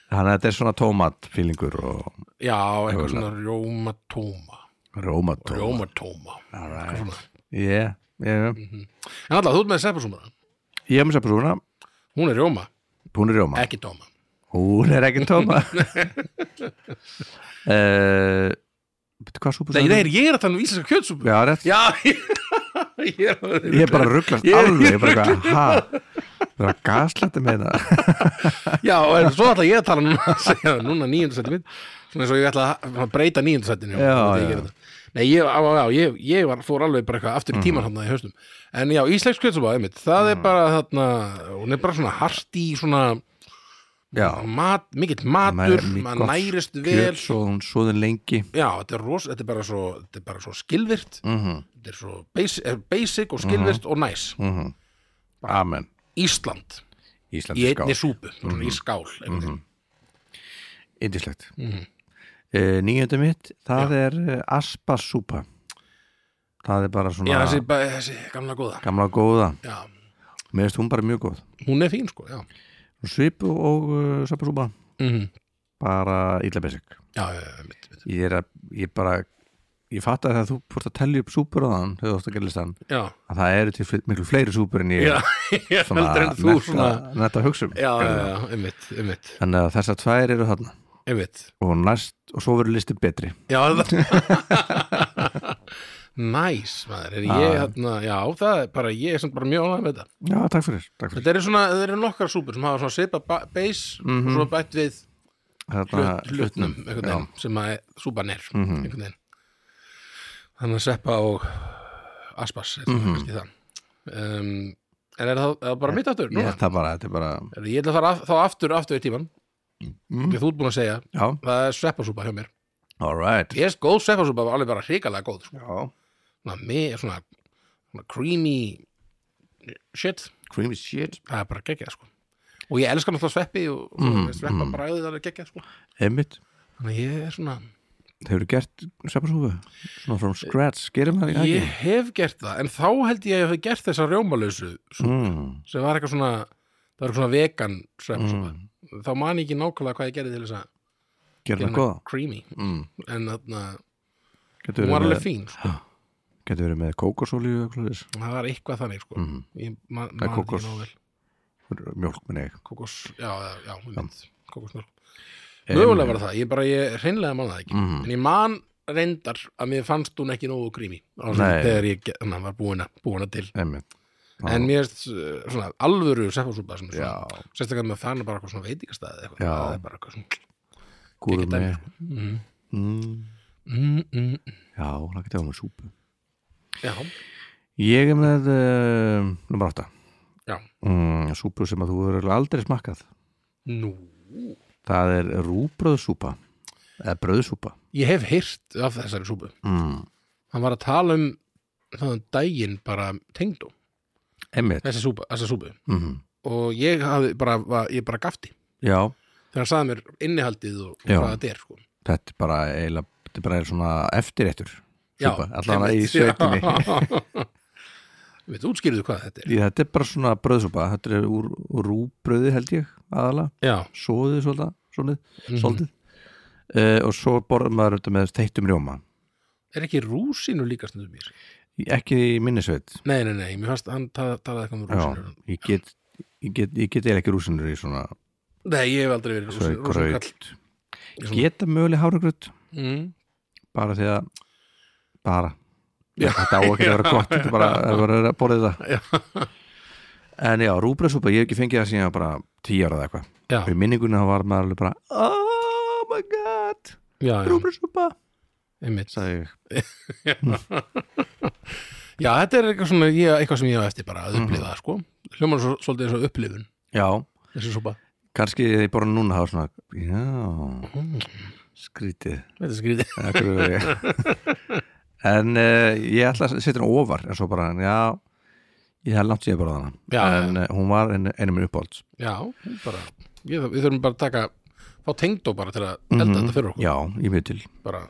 Speaker 1: Þannig að þetta er svona tómatfílingur og
Speaker 2: já, eitthvað svona rjómatóma
Speaker 1: rómató
Speaker 2: rjómatóma
Speaker 1: Alright.
Speaker 2: eitthvað svona. Mm.
Speaker 1: Yeah, yeah.
Speaker 2: en alltaf, þú ert með seppasúmara
Speaker 1: Ég hef með seppasúna,
Speaker 2: hún er rjóma,
Speaker 1: hún er rjóma
Speaker 2: ekki tóma
Speaker 1: Hún er ekki tóma uh, Betur hvað súpa
Speaker 2: Nei, nei, ég er að tala um íslenska kjötsúpu
Speaker 1: Já, rétt
Speaker 2: Já, ég, ég er að
Speaker 1: Ég er bara rugglast
Speaker 2: Ég- ég
Speaker 1: alveg Ég er bara eitthvað, ha Það er að gaslætti með það
Speaker 2: Já, en svo ætla ég að tala núna segja, núna nýjöndarsætti mitt svona eins og ég ætla að að breyta nýjöndarsættinu
Speaker 1: Já, já.
Speaker 2: Nei, ég, á, á, á, ég, ég var, fór alveg bara eitthvað aftur í tíman hann í haustum En já, íslensk kjötsúpa, einmitt það er bara þarna, hún er bara svona hart í svona
Speaker 1: Já
Speaker 2: mat, mikill
Speaker 1: Maður
Speaker 2: matur,
Speaker 1: er mikið
Speaker 2: maður
Speaker 1: gott
Speaker 2: nærist vel
Speaker 1: Kjöt svo hún svoðin lengi
Speaker 2: Já, þetta er, ros, þetta, er bara svo, þetta er bara svo skilvirt
Speaker 1: mm -hmm.
Speaker 2: þetta er svo basic, er basic og skilvirt og næs
Speaker 1: mhm. Amen
Speaker 2: Ísland í
Speaker 1: Íslandi
Speaker 2: einni
Speaker 1: ská
Speaker 2: súpu, bara svona í skál einhvern veginn.
Speaker 1: Indislegt mm
Speaker 2: Mhm.
Speaker 1: Nýjöndu Eh, mitt, það er eh, aspasúpa Það er bara svona
Speaker 2: já, þessi, bara- þessi gamla góða
Speaker 1: Gamla góða
Speaker 2: já,
Speaker 1: Mér finnst hún bara mjög góð
Speaker 2: hún er fín sko, já
Speaker 1: Svipu og uh, sapasúpa
Speaker 2: mm
Speaker 1: bara illa basic
Speaker 2: já, já, já, mitt, mitt.
Speaker 1: ég er að, ég bara ég fatt að þegar þú fórst að tellja upp súpur á þann höfðu átt að gerlist hann
Speaker 2: já,
Speaker 1: að það eru til fl- miklu fleiri súpur en ég
Speaker 2: já, já heldur en þú svona
Speaker 1: netta hugsa um
Speaker 2: já, já, já, einmitt, einmitt,
Speaker 1: þannig að þessar tvær eru þarna
Speaker 2: einmitt
Speaker 1: og næst og svo verður listið betri
Speaker 2: já, það næs, maður, er ég þarna já, það er bara, ég er samt bara mjög ánægð með þetta
Speaker 1: já, takk fyrir, takk fyrir.
Speaker 2: þetta eru svona, þetta eru nokkar súpur sem hafa svona sipa base og svo bætt við
Speaker 1: Þarna,
Speaker 2: hlut, hlutnum, einhvern veginn, sem að súpan er, einhvern veginn þannig að Seppa og Aspas, er það kannski það um, en er það, er það bara mitt aftur
Speaker 1: ég
Speaker 2: núna?
Speaker 1: held það bara, þetta er bara
Speaker 2: Er, ég ætla að fara að, þá aftur, aftur í tíman mm. þú ert búin að segja,
Speaker 1: já,
Speaker 2: það er sveppasúpa hjá mér
Speaker 1: all right
Speaker 2: ég er góð sveppasúpa, alveg bara hrikalega góð sko.
Speaker 1: já,
Speaker 2: svona, með, svona, svona creamy shit,
Speaker 1: creamy shit
Speaker 2: það er bara geggjað sko og ég elskar náttúrulega sveppi og, og
Speaker 1: Mm,
Speaker 2: mm, sveppa mm. bræðið alveg geggjað sko
Speaker 1: einmitt,
Speaker 2: þannig að ég er svona
Speaker 1: hefur gert seppasúfu, svona from scratch gerum það ekki
Speaker 2: Ég hef gert það, en þá held ég að ég hef gert þessa rjómalösu sem
Speaker 1: mm.
Speaker 2: sem var eitthvað svona, það var eitthvað svona vegan svefn,
Speaker 1: Mm.
Speaker 2: þá man ég ekki nákvæmlega hvað ég gerði til þess að
Speaker 1: Gerðu
Speaker 2: gera
Speaker 1: það góða
Speaker 2: creamy
Speaker 1: mm.
Speaker 2: en þarna,
Speaker 1: Getur
Speaker 2: hún
Speaker 1: verið
Speaker 2: var alveg
Speaker 1: með,
Speaker 2: fín sko.
Speaker 1: getur verið með kókosólíu og eitthvað svoleiðis.
Speaker 2: það var eitthvað þannig sko.
Speaker 1: mm.
Speaker 2: ég ma
Speaker 1: Það er
Speaker 2: maður
Speaker 1: kókos.
Speaker 2: ekki nóg vel
Speaker 1: Mjólk með neg
Speaker 2: kókos, já, já, já, ég veit kókosmjölk,
Speaker 1: Em,
Speaker 2: mögulega var það ég bara, ég hreinlega man það ekki
Speaker 1: Mhm.
Speaker 2: en ég man reyndar að mér fannst hún ekki nógu creamy á þessum-
Speaker 1: Nei.
Speaker 2: þegar ég ge- hann var búin að, búin að til
Speaker 1: Einmitt. Já.
Speaker 2: en mér erst svona alvöru seppasúpa sem er svona,
Speaker 1: Já,
Speaker 2: sérstaklega með þannig bara eitthvað svona veitingastæði eitthvað,
Speaker 1: Já.
Speaker 2: það er bara eitthvað svona
Speaker 1: gúrum
Speaker 2: dæmi,
Speaker 1: með
Speaker 2: mm,
Speaker 1: mm.
Speaker 2: mm, mm, mm.
Speaker 1: Já, það getur verið með súpu
Speaker 2: já,
Speaker 1: Ég er með uh, nummer 8
Speaker 2: Já.
Speaker 1: mm, Súpu sem að þú verður aldrei smakkað
Speaker 2: nú
Speaker 1: Það er rúbröðsúpa eða bröðsúpa
Speaker 2: ég hef heyrt af þessari súpu
Speaker 1: mm.
Speaker 2: hann var að tala um það um daginn bara tengdó
Speaker 1: Einmitt
Speaker 2: þessa súpu, þessa súpu
Speaker 1: mm.
Speaker 2: og ég hafði bara, var, ég bara gafti
Speaker 1: Já,
Speaker 2: þegar hann sagði mér innihaldið og, og
Speaker 1: Já.
Speaker 2: hvað þetta er sko.
Speaker 1: þetta er bara eiginlega, þetta er bara svona eftirréttur
Speaker 2: Já,
Speaker 1: súpa, allan í
Speaker 2: einmitt.
Speaker 1: sveitinni
Speaker 2: við útskýrðu hvað þetta er
Speaker 1: Í, Þetta er bara svona bröðsúpa Þetta er úr, úr rúbröði held ég aðalega,
Speaker 2: já,
Speaker 1: svoðið svolítið, svolítið,
Speaker 2: mhm.
Speaker 1: svolítið. Uh, og svo borðum maður þetta með teittum rjóma
Speaker 2: er ekki rúsinu líka stundum mér
Speaker 1: ekki í minnisveit
Speaker 2: nei, nei, nei, mér fannst hann tala, talaði eitthvað um
Speaker 1: Já,
Speaker 2: rúsinu
Speaker 1: ég get ég get, ég get eiginlega ekki rúsinur í svona,
Speaker 2: nei, ég hef aldrei verið
Speaker 1: svona
Speaker 2: rúsinu, rúsinu kall
Speaker 1: graut
Speaker 2: Mhm.
Speaker 1: geta mögulega háragraut
Speaker 2: mm.
Speaker 1: bara því að bara,
Speaker 2: Já.
Speaker 1: þetta á ekki að vera gott þetta er bara að vera að borða
Speaker 2: Já.
Speaker 1: þetta en já, rúbröðsúpa ég hef ekki fengið það síðan ég var bara tíu ára eða eitthvað
Speaker 2: já,
Speaker 1: fyrir minninguna var maður alveg bara oh my god,
Speaker 2: já, já,
Speaker 1: rúbröðsúpa
Speaker 2: einmitt
Speaker 1: sagði ég,
Speaker 2: já, þetta er eitthvað, svona, ég, eitthvað sem ég hef eftir bara að upplifa það, sko hljóman svo, svolítið eins og upplifun
Speaker 1: já,
Speaker 2: þessi súpa
Speaker 1: kannski þegar ég borða núna þá svona, já,
Speaker 2: mm.
Speaker 1: skrítið
Speaker 2: þetta er skrítið
Speaker 1: Eða hverju verið ég? en uh, ég ætla að setja hann ofar en svo bara, já ég hef langt séð bara þannig
Speaker 2: Já,
Speaker 1: en uh, hún var einu, einu minn uppáhalds
Speaker 2: já, bara ég, við þurfum bara að taka fá tengdó bara til að elda
Speaker 1: Mhm.
Speaker 2: þetta fyrir okkur
Speaker 1: já, ég mjög til,
Speaker 2: bara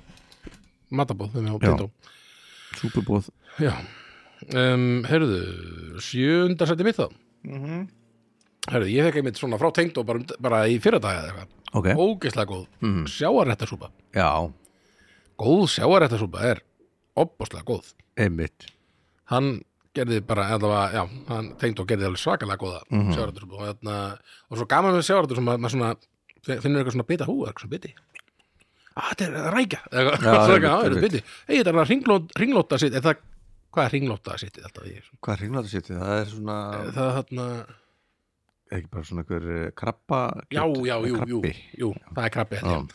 Speaker 2: matabóð þegar við á
Speaker 1: Já.
Speaker 2: tengdó
Speaker 1: súpubóð
Speaker 2: Já, um, herðu, sjöunda seti mitt þá
Speaker 1: Mhm.
Speaker 2: Herðu, ég fekk einmitt svona frá tengd og bara, um- bara í fyrradagið eða eitthvað
Speaker 1: ok,
Speaker 2: Ógeðslega góð,
Speaker 1: Mhm.
Speaker 2: sjáarrættasúpa
Speaker 1: já,
Speaker 2: Góð sjáarrættasúpa er opbáslega góð
Speaker 1: einmitt
Speaker 2: Hann gerði bara, allavega, já, hann tengd og gerði alveg svakalega góða mm
Speaker 1: Mhm.
Speaker 2: -hmm. og, þarna, og svo gaman með sjáarrættasúpa maður maður svona, finnur eitthvað svona bita hú, eitthvað svona biti Ah, þetta er rækja
Speaker 1: Já,
Speaker 2: eitthvað, svona,
Speaker 1: einmitt,
Speaker 2: "Ah, þetta er
Speaker 1: einmitt.
Speaker 2: biti Ei, þetta er að ringlót, ringlóta sitt eða, Hvað er ringlóta sitt alltaf? Ég,
Speaker 1: hvað hringla þetta sétti, það er svona
Speaker 2: það þarna
Speaker 1: ekki bara svona einhver eh, krabba
Speaker 2: já, já, jú, jú,
Speaker 1: krabbi
Speaker 2: jú, það er krabbi
Speaker 1: Já,
Speaker 2: já.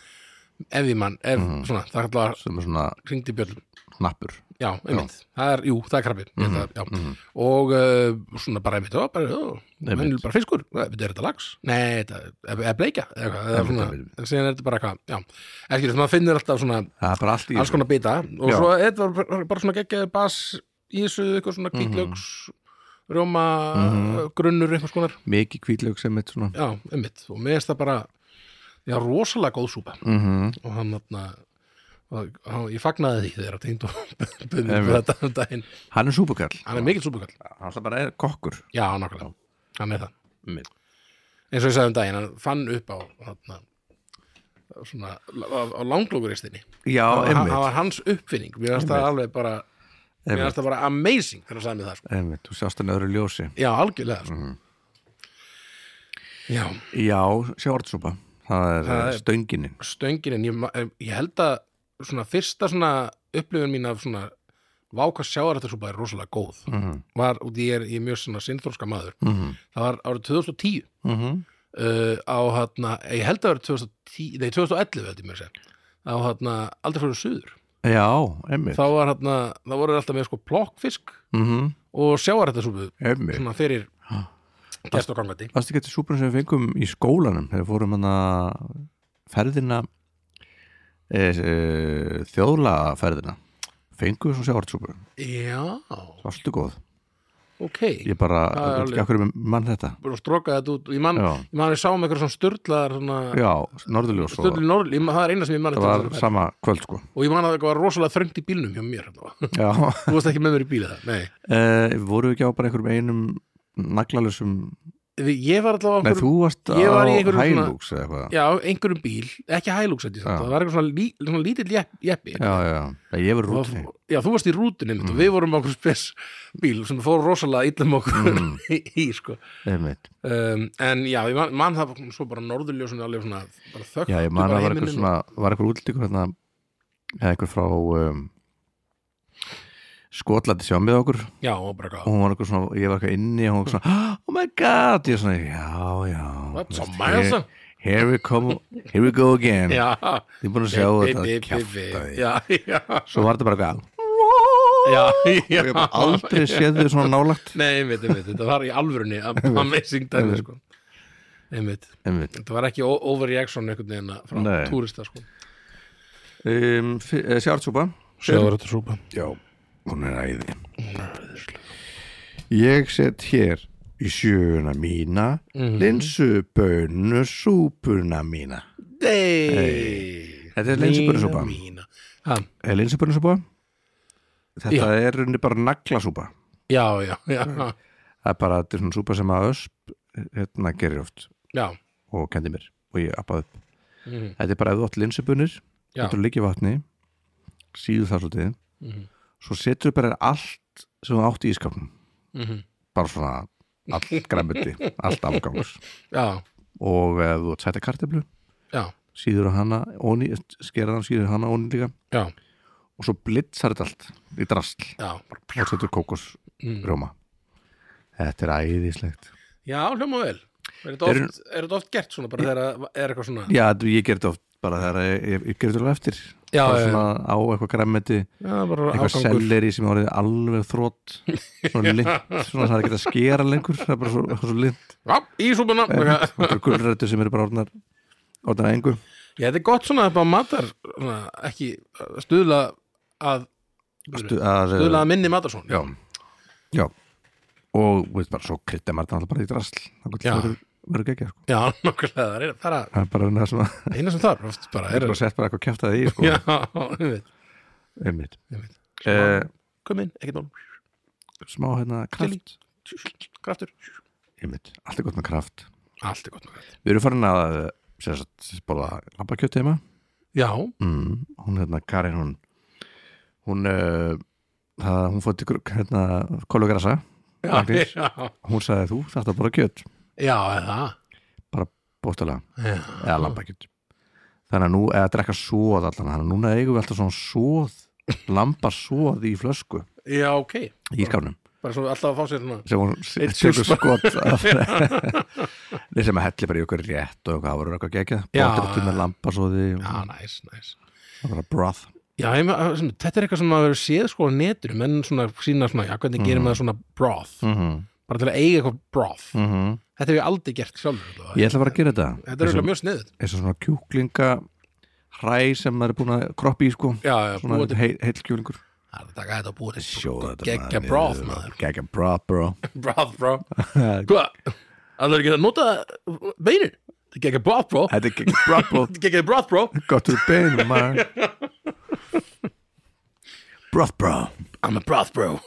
Speaker 2: ef ég mann, ef
Speaker 1: Mhm.
Speaker 2: svona, það er alltaf
Speaker 1: sem er svona
Speaker 2: hringdi björn,
Speaker 1: hnappur
Speaker 2: já, einmitt það er, jú, það er krabbi mm -hmm. það,
Speaker 1: Mhm.
Speaker 2: og uh, svona bara einmitt, já, bara, já,
Speaker 1: Einmitt.
Speaker 2: mennur bara fiskur Hvað, er þetta lags? Nei, þetta er, er bleikja eða eitthvað, eða
Speaker 1: Einmitt,
Speaker 2: svona,
Speaker 1: einmitt.
Speaker 2: en síðan er þetta bara eitthvað, já, ekki, þú maður finnur alltaf svona
Speaker 1: það er bara allt í
Speaker 2: alls konar bita og
Speaker 1: Já.
Speaker 2: svo þetta var bara- bara svona geggjaði bas í þessu, eitthvað svona kvítlöks
Speaker 1: Mhm.
Speaker 2: rjóma, eh, grunnur eitthvað skonar,
Speaker 1: mikið kvíðlaug sem eitt svona
Speaker 2: já, einmitt og mér er það bara, já, rosalega góð súpa
Speaker 1: mm -hmm.
Speaker 2: og hann þarna og hann, ég fagnaði því þegar tengd og bauð mér
Speaker 1: Einmitt.
Speaker 2: þetta um daginn
Speaker 1: hann er súpukall
Speaker 2: hann er mikill súpukall,
Speaker 1: hann alltaf bara er kokkur
Speaker 2: já nákvæmlega hann er það,
Speaker 1: Einmitt.
Speaker 2: eins og ég sagði um daginn hann fann upp á þarna, svona, á, á langlókuristinni
Speaker 1: já,
Speaker 2: hann
Speaker 1: einmitt
Speaker 2: hann var hans uppfinning mér finnst það alveg bara mér finnst það bara amazing þegar hann sagði mér það sko.
Speaker 1: Einmitt, þú sjást hann öðru ljósi
Speaker 2: já, algjörlega sko.
Speaker 1: Mhm.
Speaker 2: já,
Speaker 1: Já, sjáartsúpa Það er
Speaker 2: Það er-
Speaker 1: stönginni
Speaker 2: stöngin en ég, ma- em, ég held að svona fyrsta svona upplifun mín af svona váka sjáar þetta er rosalega góð
Speaker 1: mm -hmm.
Speaker 2: var, og ég er, ég er mjög svona sinnþróska maður
Speaker 1: Mhm.
Speaker 2: það var árið 2010 uh, á hérna, ég held að vera 2010, nei 2011 held ég mér að segja á hérna, aldrei fyrir suður
Speaker 1: Já, einmitt
Speaker 2: þá var hérna, þá voru þeir alltaf með sko plokkfisk
Speaker 1: mm
Speaker 2: og sjáarrættasúpu
Speaker 1: Einmitt
Speaker 2: svona fyrir
Speaker 1: Ha.
Speaker 2: gest og gangandi
Speaker 1: Vastu getur súpun sem við fengum í skólanum þegar við fórum hann að ferðina e, e, þjóðla ferðina fengum við svo sjáartsúpu
Speaker 2: já,
Speaker 1: Vastu góð
Speaker 2: ok
Speaker 1: Ég bara, veit
Speaker 2: Það er
Speaker 1: ekki
Speaker 2: alveg-
Speaker 1: af hverju mann þetta
Speaker 2: búin að stróka þetta út, ég man,
Speaker 1: Já,
Speaker 2: ég man að ég sá um eitthvað svona styrlaðar svona
Speaker 1: já norðurljós og
Speaker 2: styrli norli, það er eina sem ég man
Speaker 1: það
Speaker 2: eftir
Speaker 1: var
Speaker 2: þessari ferð.
Speaker 1: sama kvöld sko
Speaker 2: og ég man að það var rosalega þröngt í bílnum hjá mér hérna.
Speaker 1: Já,
Speaker 2: þú varst ekki með mér í bíli það, nei
Speaker 1: Eh, e, voru við ekki á bara einhverjum einum naglalusum
Speaker 2: við- ég var allavega á
Speaker 1: Nei,
Speaker 2: einhverjum-
Speaker 1: þú varst
Speaker 2: Ég var
Speaker 1: á
Speaker 2: í einhverjum svona-
Speaker 1: hælúks eða eitthvað
Speaker 2: já, einhverjum bíl, ekki hælúks þetta
Speaker 1: Já.
Speaker 2: var eitthvað svona, lí, svona lítill jepp, jeppi
Speaker 1: Já, já, já, ég var
Speaker 2: Og-
Speaker 1: rútni
Speaker 2: já, þú varst í rútunni mitt og við vorum á okkur spes bíl sem fór rosalega illum okkur
Speaker 1: Mm.
Speaker 2: í, í sko.
Speaker 1: einmitt.
Speaker 2: um, en já, ég man, man það svo bara norðurljósun alveg svona bara þögt
Speaker 1: Já, ég man að það var eitthvað svona var eitthvað útlíkur hérna eða eitthvað frá um, Skotlandi sjá með okkur og
Speaker 2: já, og bara eitthvað
Speaker 1: hún var eitthvað svona, ég var eitthvað inni og hún var svona, oh my god ég var svona, já, já
Speaker 2: What's
Speaker 1: veist,
Speaker 2: a miles
Speaker 1: here, here, we come, here we go again
Speaker 2: já,
Speaker 1: Þið er búin að sjá þetta kjafta því.
Speaker 2: já, já,
Speaker 1: Svo var þetta bara eitthvað
Speaker 2: já,
Speaker 1: og ég hef
Speaker 2: já.
Speaker 1: aldrei séð þau svona nálagt
Speaker 2: nei, einmitt, einmitt, þetta var í alvörunni amazing dæmi, sko einmitt,
Speaker 1: einmitt
Speaker 2: þetta var ekki o- overreaction einhvern veginn að- frá
Speaker 1: Nei.
Speaker 2: túrista, sko
Speaker 1: um, Sjársúpa
Speaker 2: sjáður þetta súpa
Speaker 1: Já, hún er æði Ég set hér í sjöuna mína mm. linsu bönnu súpuna mína
Speaker 2: Nei
Speaker 1: Þetta er linsubörnusúpa.
Speaker 2: Mína, mína. Ha,
Speaker 1: Er linsu bönnu súpa? Þetta
Speaker 2: Já.
Speaker 1: er runni bara naglasúpa
Speaker 2: Já, já, já
Speaker 1: Það er bara, þetta er svona súpa sem að ösp hérna gerir oft
Speaker 2: Já, Mhm,
Speaker 1: og kendi mér og ég appaði upp Þetta er bara ef þú átt linsubönnur
Speaker 2: já,
Speaker 1: þetta er líki vatni síðu það svolítið svo setur bara allt sem þú átt í ískapnum
Speaker 2: Mhm.
Speaker 1: bara svona allt græmiti, allt afgangs
Speaker 2: já,
Speaker 1: og ef þú átt sætti karteflu
Speaker 2: já,
Speaker 1: síður á hana, óni, skerðan síður hana óni líka
Speaker 2: já,
Speaker 1: og svo blitzar þetta allt í drasl
Speaker 2: já
Speaker 1: og setur kókos
Speaker 2: Mm.
Speaker 1: rjóma þetta er æðislegt
Speaker 2: Já, hljóma vel Er þetta
Speaker 1: Eru-
Speaker 2: oft, er þetta oft gert svona bara þegar að- er eitthvað svona
Speaker 1: já, þetta- ég gerði þetta oft bara þegar ég, ég, ég gerði þetta alveg eftir
Speaker 2: Já,
Speaker 1: bara
Speaker 2: já,
Speaker 1: svona á eitthvað græmiti
Speaker 2: Já, bara
Speaker 1: eitthvað
Speaker 2: ágangur
Speaker 1: selleri sem er orðið alveg þrótt svona lint, svona það er ekki að skera lengur það er bara svo, svo lint
Speaker 2: Já, í súpuna Já,
Speaker 1: og gulrættu sem eru bara orðnar orðnar að engu
Speaker 2: þetta er gott svona bara matar svona, ekki stuðla að
Speaker 1: Stu, að, eh,
Speaker 2: stuðla að minni matarsón
Speaker 1: já, já og við bara svo krytta maður þannig bara í drasl þannig
Speaker 2: Já.
Speaker 1: að það verður gegja sko.
Speaker 2: já nokkulega það er það er að-
Speaker 1: það er bara það sem að
Speaker 2: eina sem þarf oft bara
Speaker 1: það
Speaker 2: er
Speaker 1: er bara sett bara eitthvað kjæftað í sko,
Speaker 2: Já, ég veit,
Speaker 1: einmitt
Speaker 2: ég veit
Speaker 1: eh,
Speaker 2: Kom inn, ekkert mál
Speaker 1: smá hérna kraft
Speaker 2: Kraftur
Speaker 1: einmitt, allt er gott með kraft
Speaker 2: Allt er gott með þetta
Speaker 1: við erum farin að eh, sem sagt, borða lampakjöt heima
Speaker 2: Já,
Speaker 1: mm, hún hérna Karin hún hún uh, það, hún fótt ykkur hérna kólugrasa,
Speaker 2: já, já,
Speaker 1: Agnes. hún sagði þú þarft að bara kjöt,
Speaker 2: já, er það
Speaker 1: bara bóttalega
Speaker 2: Já,
Speaker 1: eða lambakjöt þannig að nú, eða drekka svoð allan þannig að núna eigum við alltaf svona svoð lambarsóð í flösku
Speaker 2: já, ok
Speaker 1: í skafnum
Speaker 2: Bara svo alltaf að fá sér svona
Speaker 1: sem hún
Speaker 2: Eitt
Speaker 1: tekur
Speaker 2: sumar.
Speaker 1: skot af Nei, sem að helli bara í okkur rétt og hvað voru okkur gegja
Speaker 2: Já,
Speaker 1: bóttalega með lambarsóði og
Speaker 2: Já, næs, næs
Speaker 1: bara broth
Speaker 2: Já, ég, með- að- svona, þetta er eitthvað sem maður verið séð sko á netur menn svona sína svona, já, hvernig gerir maður svona broth
Speaker 1: mm -hmm.
Speaker 2: bara til að eiga eitthvað broth
Speaker 1: Mm
Speaker 2: Þetta hef ég aldrei gert sjálfur allavega.
Speaker 1: ég ætla bara að gera þetta
Speaker 2: mhm. Þetta er
Speaker 1: Þessum-
Speaker 2: eitthvað mjög sniðut
Speaker 1: eins og svona kjúklinga hræ sem maður er búin að kroppi í sko
Speaker 2: Já, já,
Speaker 1: svona
Speaker 2: búið til
Speaker 1: heil, heill kjúlingur
Speaker 2: Það er að taka þetta og búið til
Speaker 1: sjóða þetta
Speaker 2: Geggja broth, maður.
Speaker 1: geggja broth bro
Speaker 2: Broth, bro
Speaker 1: þetta
Speaker 2: Hvað? Það er ekki að nota beinir Þetta er geggja broth, bro
Speaker 1: er geggja broth bro
Speaker 2: Þetta er geggja broth, bro
Speaker 1: gott úr beinu maður broth bro
Speaker 2: I'm a broth bro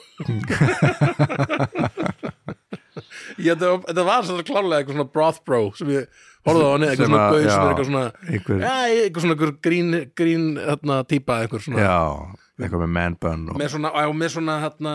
Speaker 2: Já, þetta var- þetta var svona klárlega eitthvað svona broth bro sem ég horfði á hann eitthvað
Speaker 1: Sem
Speaker 2: svona
Speaker 1: að-
Speaker 2: gauð sem er
Speaker 1: já,
Speaker 2: eitthvað svona
Speaker 1: einhver-
Speaker 2: já, eitthvað svona einhver grín, grín hérna, típa eitthvað svona
Speaker 1: já eitthvað með man bun og,
Speaker 2: með svona, á, með svona hérna,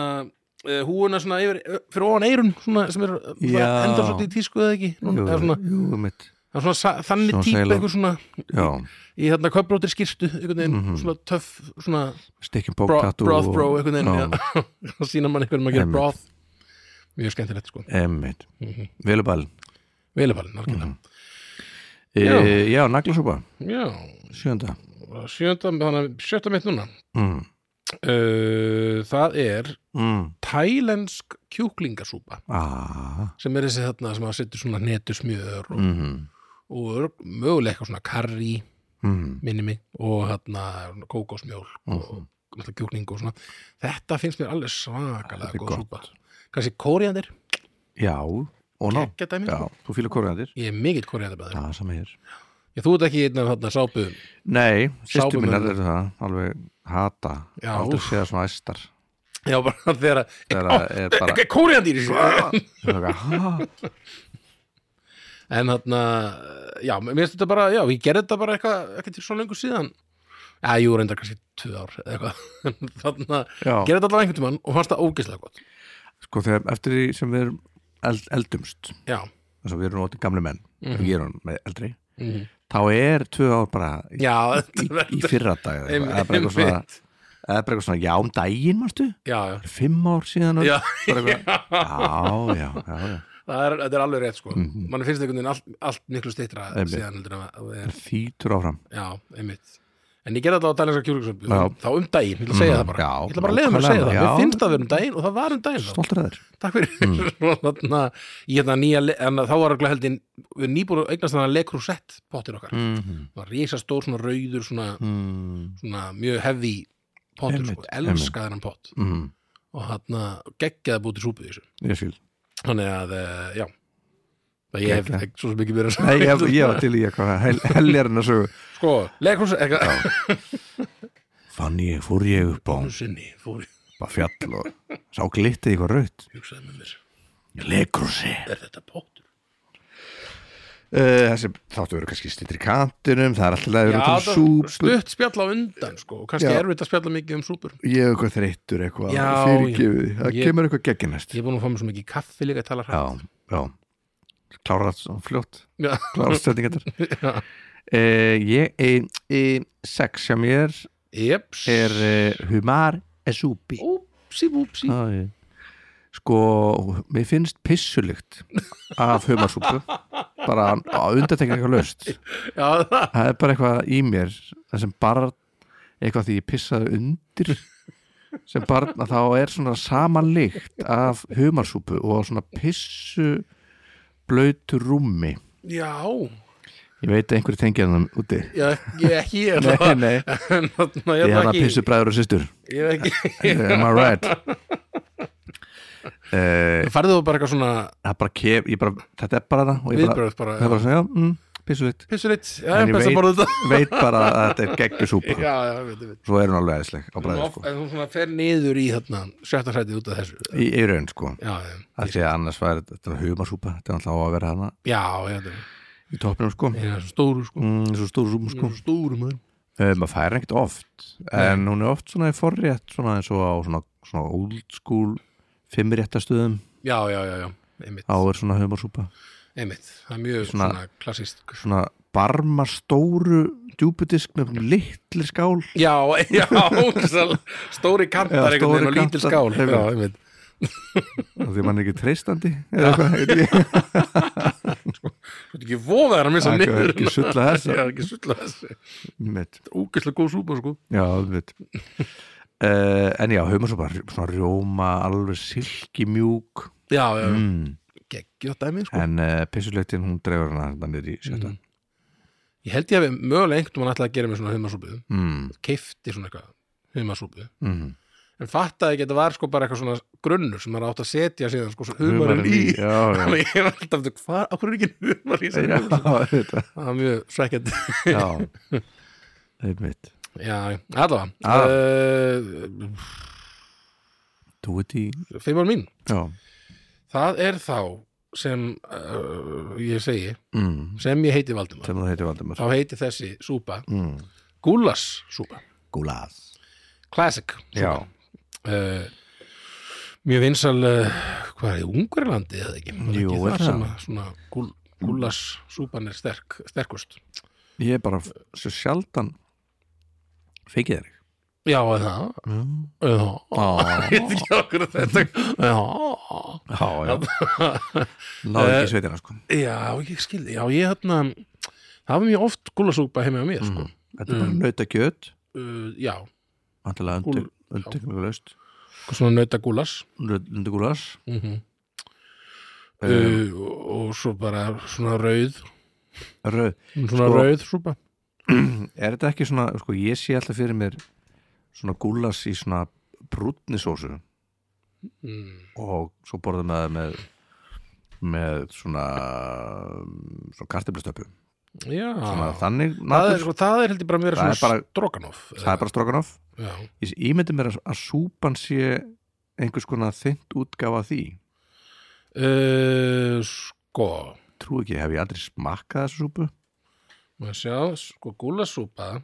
Speaker 2: eh, húuna svona yfir, fyrir ofan eyrun svona, sem er
Speaker 1: Já.
Speaker 2: enda svolítið í tísku eða ekki Nú,
Speaker 1: jú,
Speaker 2: eða svona,
Speaker 1: jú, mitt
Speaker 2: það er svona, sa- þannig
Speaker 1: Svona
Speaker 2: típa
Speaker 1: seilum.
Speaker 2: eitthvað svona
Speaker 1: já
Speaker 2: í þarna köpbrótir skýrstu einhvern veginn
Speaker 1: Mhm.
Speaker 2: svona töff svona
Speaker 1: stikkjum
Speaker 2: bro,
Speaker 1: bók tattoo
Speaker 2: broth bro
Speaker 1: og-
Speaker 2: einhvern veginn
Speaker 1: Já,
Speaker 2: já. það sína mann einhvern veginn að gera
Speaker 1: Einmitt.
Speaker 2: broth mjög skemmtilegt sko
Speaker 1: einmitt velubal
Speaker 2: velupalinn algjörlega
Speaker 1: e,
Speaker 2: Mhm. Já.
Speaker 1: já naglasúpa
Speaker 2: já
Speaker 1: sjönda
Speaker 2: sjönda þannig að sjötta mitt núna
Speaker 1: mm.
Speaker 2: uh, það er
Speaker 1: mm.
Speaker 2: tælensk kjúklingasúpa
Speaker 1: ah.
Speaker 2: sem er þessi þarna sem að setja svona netusmjör og,
Speaker 1: mm -hmm.
Speaker 2: og örg- mögulega eitthvað svona karri
Speaker 1: mm.
Speaker 2: minni mig og þarna kókosmjólk
Speaker 1: Mhm.
Speaker 2: og náttúrulega kjúkling og svona þetta finnst mér alveg svakalega
Speaker 1: Þetta er
Speaker 2: góð
Speaker 1: gott.
Speaker 2: súpa kannski kóriandir
Speaker 1: já og ná
Speaker 2: geggja dæmi
Speaker 1: Já,
Speaker 2: sko.
Speaker 1: þú fýlar koriandir
Speaker 2: ég er mikill kóriandabæður
Speaker 1: Já, sama hér
Speaker 2: Ég, þú ert ekki einn af þarna sápu
Speaker 1: Nei, sýstu
Speaker 2: Sápumönnum.
Speaker 1: mínar eru það alveg hata,
Speaker 2: Já.
Speaker 1: aldrei séða svona æstar
Speaker 2: Já, bara þegar að
Speaker 1: þegar það er bara
Speaker 2: Kóriandýr í þessu
Speaker 1: Það er eitthvað, ha?
Speaker 2: en þarna, já, mér finnst þetta bara já, ég gerði þetta bara eitthvað, ekki til svo lengur síðan já, jú, reyndar kannski tvö ár eða eitthvað, En þarna
Speaker 1: já,
Speaker 2: gerði þetta allavega einhvern tímann og fannst það ógeðslega gott
Speaker 1: sko þegar eftir því sem við erum eld, eldumst
Speaker 2: já,
Speaker 1: þess að við erum ótið gamli menn mm -hmm.
Speaker 2: Mhm.
Speaker 1: við erum með eldri
Speaker 2: mm
Speaker 1: þá er tvö ár bara í,
Speaker 2: já,
Speaker 1: í,
Speaker 2: þetta
Speaker 1: í
Speaker 2: verður
Speaker 1: fyrra dag eða
Speaker 2: Einmitt.
Speaker 1: eitthvað. eða bara eitthvað svona eða bara eitthvað svona já um daginn marstu
Speaker 2: já, já,
Speaker 1: fimm ár síðan
Speaker 2: já,
Speaker 1: Bara eitthvað- já, já, já, já.
Speaker 2: það er, þetta er alveg rétt sko
Speaker 1: Mhm.
Speaker 2: mann finnst einhvern veginn allt, allt miklu steytra
Speaker 1: Einmitt.
Speaker 2: síðan heldur en að við
Speaker 1: Það þýtur áfram
Speaker 2: Já, einmitt En ég gerði alltaf að talinska kjúrikssömbu
Speaker 1: Já.
Speaker 2: þá um daginn, ég ætla að segja það bara
Speaker 1: Já,
Speaker 2: Ég ætla bara að leiða mér að segja það,
Speaker 1: nákvæmlega, já.
Speaker 2: mér finnst það að vera um daginn og það var um daginn þá.
Speaker 1: stoltur að þér
Speaker 2: Takk fyrir mm. Ég hérna nýja, le- en þá var örugglega held ég við nýbúru eignast þannig að Le Crusette pottir okkar, mm. var risastór svona rauður svona,
Speaker 1: mm
Speaker 2: svona mjög heavy pottur,
Speaker 1: Einmitt,
Speaker 2: sko, elska þennan pott
Speaker 1: -hmm.
Speaker 2: og hann geggjaði bútið súpu í þessu
Speaker 1: ég skil
Speaker 2: Þannig að, eh, já Það ég hef
Speaker 1: Geggjað.
Speaker 2: ekki svo sem ekki verið að
Speaker 1: Nei, ég, ég var til í eitthvað hel, heljarinn að sögu
Speaker 2: Sko, Le Crusette, eitthvað
Speaker 1: fann ég, fór ég upp á
Speaker 2: Nú sinni, fór ég,
Speaker 1: á fjall og sá glittið í eitthvað raut
Speaker 2: hugsaði með mér
Speaker 1: leikrosi
Speaker 2: Er þetta pottur?
Speaker 1: uh, þessi þáttu verður kannski stýttir í kantinum það er alltaf að
Speaker 2: Já,
Speaker 1: vera
Speaker 2: það
Speaker 1: tala um súpu
Speaker 2: stutt spjalla á undan sko, og kannski
Speaker 1: Já.
Speaker 2: erfitt að spjalla mikið um súpur
Speaker 1: ég er eitthvað þreyttur eitthvað
Speaker 2: Já,
Speaker 1: fyrirgefið, þið. það
Speaker 2: ég-
Speaker 1: kemur eitthvað gegginæst
Speaker 2: Ég er búin að fá mér svo mikið kaffi líka að tala
Speaker 1: já,
Speaker 2: hrætt
Speaker 1: já klára það svona fljótt
Speaker 2: Já,
Speaker 1: klára stöldingar
Speaker 2: já,
Speaker 1: uh, ég, e, e, sex hjá mér
Speaker 2: jeps
Speaker 1: er uh, humar esúpi
Speaker 2: Úpsi, úpsi
Speaker 1: Já, ég. sko, mér finnst pissulikt af humarsúpu bara á undartekna eitthvað löst
Speaker 2: Já, það
Speaker 1: það er bara eitthvað í mér það sem bara eitthvað því ég pissaði undir sem bara að þá er svona samanlíkt af humarsúpu og svona pissu blöytu rúmi
Speaker 2: Já,
Speaker 1: ég veit að einhverju tengið hann úti
Speaker 2: já, ég ekki ég
Speaker 1: nei,
Speaker 2: allavega.
Speaker 1: nei,
Speaker 2: En
Speaker 1: ég
Speaker 2: þarna, ég ætla
Speaker 1: hef að
Speaker 2: Hérna ekki
Speaker 1: pissu bræður og systur
Speaker 2: Ég er ekki
Speaker 1: am I right uh,
Speaker 2: Færðu þú bara eitthvað svona
Speaker 1: það bara kef, ég bara, þetta er bara það og ég bara,
Speaker 2: viðbröð bara
Speaker 1: það er bara svona, já, mm, pissulikt
Speaker 2: Pissu litt, já,
Speaker 1: En
Speaker 2: ég
Speaker 1: ég
Speaker 2: best að
Speaker 1: veit-
Speaker 2: borða þetta
Speaker 1: veit bara að þetta er geggjusúpa
Speaker 2: Já, já, ég veit, ég veit
Speaker 1: svo er hún alveg eðisleg á
Speaker 2: Þú
Speaker 1: bræði
Speaker 2: of-
Speaker 1: sko.
Speaker 2: En þú svona fer niður í þarna sjötta hrætið út af þessu
Speaker 1: í, í raun sko
Speaker 2: Já, já,
Speaker 1: af því að annars var þetta er humarsúpa þetta er alltaf á að vera hana
Speaker 2: já, já, þetta er-
Speaker 1: í toppinum sko
Speaker 2: ég er svo stóru sko
Speaker 1: mm, svo stóru súpa
Speaker 2: Ég
Speaker 1: sko
Speaker 2: er svo stóru maður
Speaker 1: Eh, maður fær ekkert oft en hún er oft svona í forrétt svona eins og á svona, svona old school fimmréttastöðum
Speaker 2: Já, já, já, já, einmitt
Speaker 1: á er svona humarsúpa
Speaker 2: Einmitt, það er mjög svona,
Speaker 1: Svona-
Speaker 2: klassist
Speaker 1: svona barma stóru djúbudisk með litli skál
Speaker 2: Já, já, ógeðslega stóri
Speaker 1: Já,
Speaker 2: kantar einhvern
Speaker 1: stórir
Speaker 2: veginn og lítil
Speaker 1: kantar,
Speaker 2: skál
Speaker 1: einmitt.
Speaker 2: Já, einmitt,
Speaker 1: af því mann er ekki treystandi eða eitthvað ég veit ekki.
Speaker 2: þú veit ekki vofaðar að missa
Speaker 1: Það er
Speaker 2: niður hérna.
Speaker 1: ekki sulla
Speaker 2: Já,
Speaker 1: þess
Speaker 2: ekki sulla þessi
Speaker 1: mitt
Speaker 2: Ógeðslega góð súpa, sko
Speaker 1: Já, þú veit uh, En já, humarsúpa, svona rjóma alveg silki mjúk
Speaker 2: Já, já, mm.
Speaker 1: mm.
Speaker 2: geggjótt dæmi, sko
Speaker 1: En uh, pissulöktin, hún dregur hana þarna niður í sjötta mm.
Speaker 2: Ég held ég að við mögulega einhvern mann ætlaði að gera mér svona humasúpu
Speaker 1: Mm.
Speaker 2: Keifti svona eitthvað humasúpu
Speaker 1: Mm.
Speaker 2: En fattaði ekki að þetta var sko bara eitthvað svona grunnur sem maður átt að setja síðan sko svona humarinn í
Speaker 1: Já, já
Speaker 2: Þannig ég var alltaf, hvað, á hverju er ekki humar í
Speaker 1: Já,
Speaker 2: sér?
Speaker 1: þetta
Speaker 2: Það var mjög svekkjandi
Speaker 1: Já, einmitt
Speaker 2: Já, allavega
Speaker 1: Já.
Speaker 2: uh,
Speaker 1: Þú veit í
Speaker 2: Fimm ár Eh, mín
Speaker 1: Já,
Speaker 2: Það er þá sem uh, ég segi,
Speaker 1: mm.
Speaker 2: sem ég heiti Valdimar
Speaker 1: sem það heiti Valdemar
Speaker 2: þá heiti þessi súpa
Speaker 1: mm.
Speaker 2: Gúlas súpa,
Speaker 1: Gúlas
Speaker 2: classic
Speaker 1: Já,
Speaker 2: súpa. Uh, Mjög vinsal uh, hvað er, Ungverlandi eða ekki Var
Speaker 1: Jú,
Speaker 2: ekki
Speaker 1: er
Speaker 2: þar sem
Speaker 1: það?
Speaker 2: að svona gúl, Gúlas súpan er sterk, sterkust
Speaker 1: ég er bara f- svo sjaldan feikið þér
Speaker 2: Já, er það
Speaker 1: Já, Á.
Speaker 2: Já, ég veit ekki okkur að þetta Já, Eh,
Speaker 1: já Náðu ekki í sveitina, sko
Speaker 2: Já, ég skildi, já, ég hérna það var mjög oft gúlasúpa heima á mér, sko
Speaker 1: Mm. Þetta er bara nautakjöt
Speaker 2: uh, Já,
Speaker 1: Vantilega
Speaker 2: Gúl-
Speaker 1: undir, undirgulaust
Speaker 2: eitthvað svona nautagúlas
Speaker 1: Undirgulas
Speaker 2: mm -hmm.
Speaker 1: uh,
Speaker 2: uh, og- og svo bara svona rauð
Speaker 1: Rauð
Speaker 2: svona
Speaker 1: Sko-
Speaker 2: rauð súpa
Speaker 1: Er þetta ekki svona, sko, ég sé alltaf fyrir mér svona gulas í svona brúnnisósu
Speaker 2: mm.
Speaker 1: og svo borða með með, með svona svona kartiblustöpu
Speaker 2: Já,
Speaker 1: svona þannig
Speaker 2: Ah. það, er,
Speaker 1: matur,
Speaker 2: sko, það er heldur bara mér
Speaker 1: Það
Speaker 2: svona
Speaker 1: er bara-
Speaker 2: stroganoff
Speaker 1: það er bara stroganoff
Speaker 2: Já,
Speaker 1: Ég ímyndi mér að, að súpan sé einhvers konar þynt útgáfa af því
Speaker 2: uh, sko
Speaker 1: Trú- trú ekki, hef ég aldrei smakkað þessu súpu
Speaker 2: maður sjá, sko gúlasúpa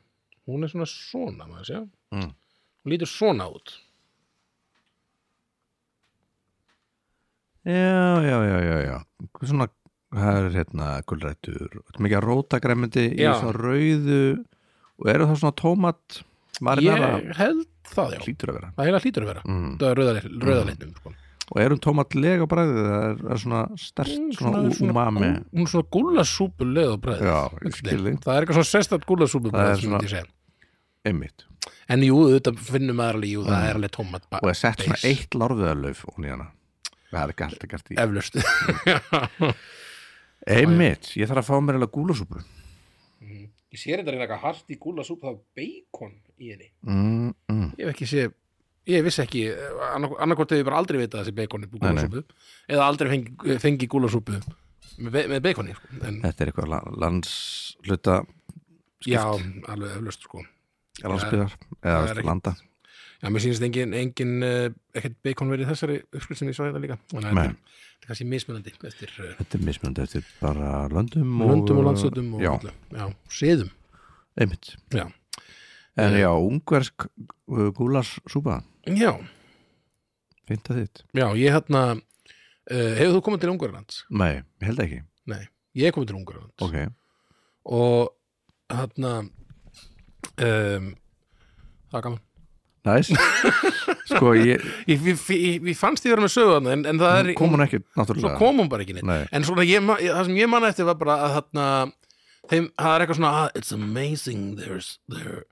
Speaker 2: hún er svona svona, maður sjá
Speaker 1: Mm.
Speaker 2: hún lítur svona út
Speaker 1: Já, já, já, já, já Hvað Svona, það er hérna gulrætur, þetta er mikið rótagræmindi í
Speaker 2: Já.
Speaker 1: svona rauðu og eru það svona tómat marinara,
Speaker 2: ég held það, já,
Speaker 1: hlýtur að vera
Speaker 2: það heila hlýtur að vera
Speaker 1: mm.
Speaker 2: það er rauðalitnum, rauðalitnum sko.
Speaker 1: og eru tómatlega bræðið það er, er svona stert, Mm, svona, svona umami
Speaker 2: ú- hún er svona gúlasúpu leð og bræð
Speaker 1: Já, ég skil þig.
Speaker 2: það er eitthvað svona sérstætt gúlasúpu
Speaker 1: Það er
Speaker 2: bræð
Speaker 1: svona-
Speaker 2: svona...
Speaker 1: einmitt,
Speaker 2: en jú, þetta finnum maður alveg jú, það er alveg tómat
Speaker 1: Mm. og er sett svona
Speaker 2: Beis.
Speaker 1: eitt larfiðarlauf hún í hana það er ekki alltaf gert í Mm.
Speaker 2: eflaust
Speaker 1: einmitt, ég þarf að fá mér eða gúlasúpu
Speaker 2: Mhm. ég sé þetta eitthvað hart í gúlasúpu það er bacon í henni
Speaker 1: mm, mm.
Speaker 2: ég hef ekki sé ég vissi ekki, eh, annarkvort hefur ég bara aldrei vitað þessi bacon í
Speaker 1: Nei, nei.
Speaker 2: gúlasúpu eða aldrei fengi, fengi gúlasúpu með, be- með baconi sko. en
Speaker 1: þetta er eitthvað la- landsluta
Speaker 2: já, alveg eflaust sko.
Speaker 1: landsbyðar
Speaker 2: það
Speaker 1: eða
Speaker 2: er
Speaker 1: veist,
Speaker 2: ekkert-
Speaker 1: landa
Speaker 2: já, mér sýnist engin, engin uh, ekkert bacon verið í þessari uppskrift sem ég svo þetta líka þannig að
Speaker 1: Nei.
Speaker 2: þetta er- þetta er kannski mismunandi eftir uh,
Speaker 1: Þetta er mismunandi eftir bara löndum og,
Speaker 2: löndum og landslutum og
Speaker 1: eh, Já,
Speaker 2: öllu. já, séðum
Speaker 1: einmitt
Speaker 2: Já.
Speaker 1: En
Speaker 2: Eh.
Speaker 1: já, ungversk uh, gúlarsúpa,
Speaker 2: já,
Speaker 1: fynda þitt
Speaker 2: já, ég hérna uh, hefur þú komið til Ungarlands?
Speaker 1: Nei, ég held ekki,
Speaker 2: ég hef komið til Ungarlands
Speaker 1: ok
Speaker 2: og hérna um, það var gaman
Speaker 1: Næs Sko, ég,
Speaker 2: Ég, ég, ég, ég fannst ég vera með sögu þarna en, en það er,
Speaker 1: kom hún ekki
Speaker 2: svo
Speaker 1: náttúrulega
Speaker 2: kom hún bara ekki neitt
Speaker 1: Nei,
Speaker 2: en svona ég, ma- ég, það sem ég manna eftir var bara að þarna þeim, það er eitthvað svona ah, it's amazing there's their,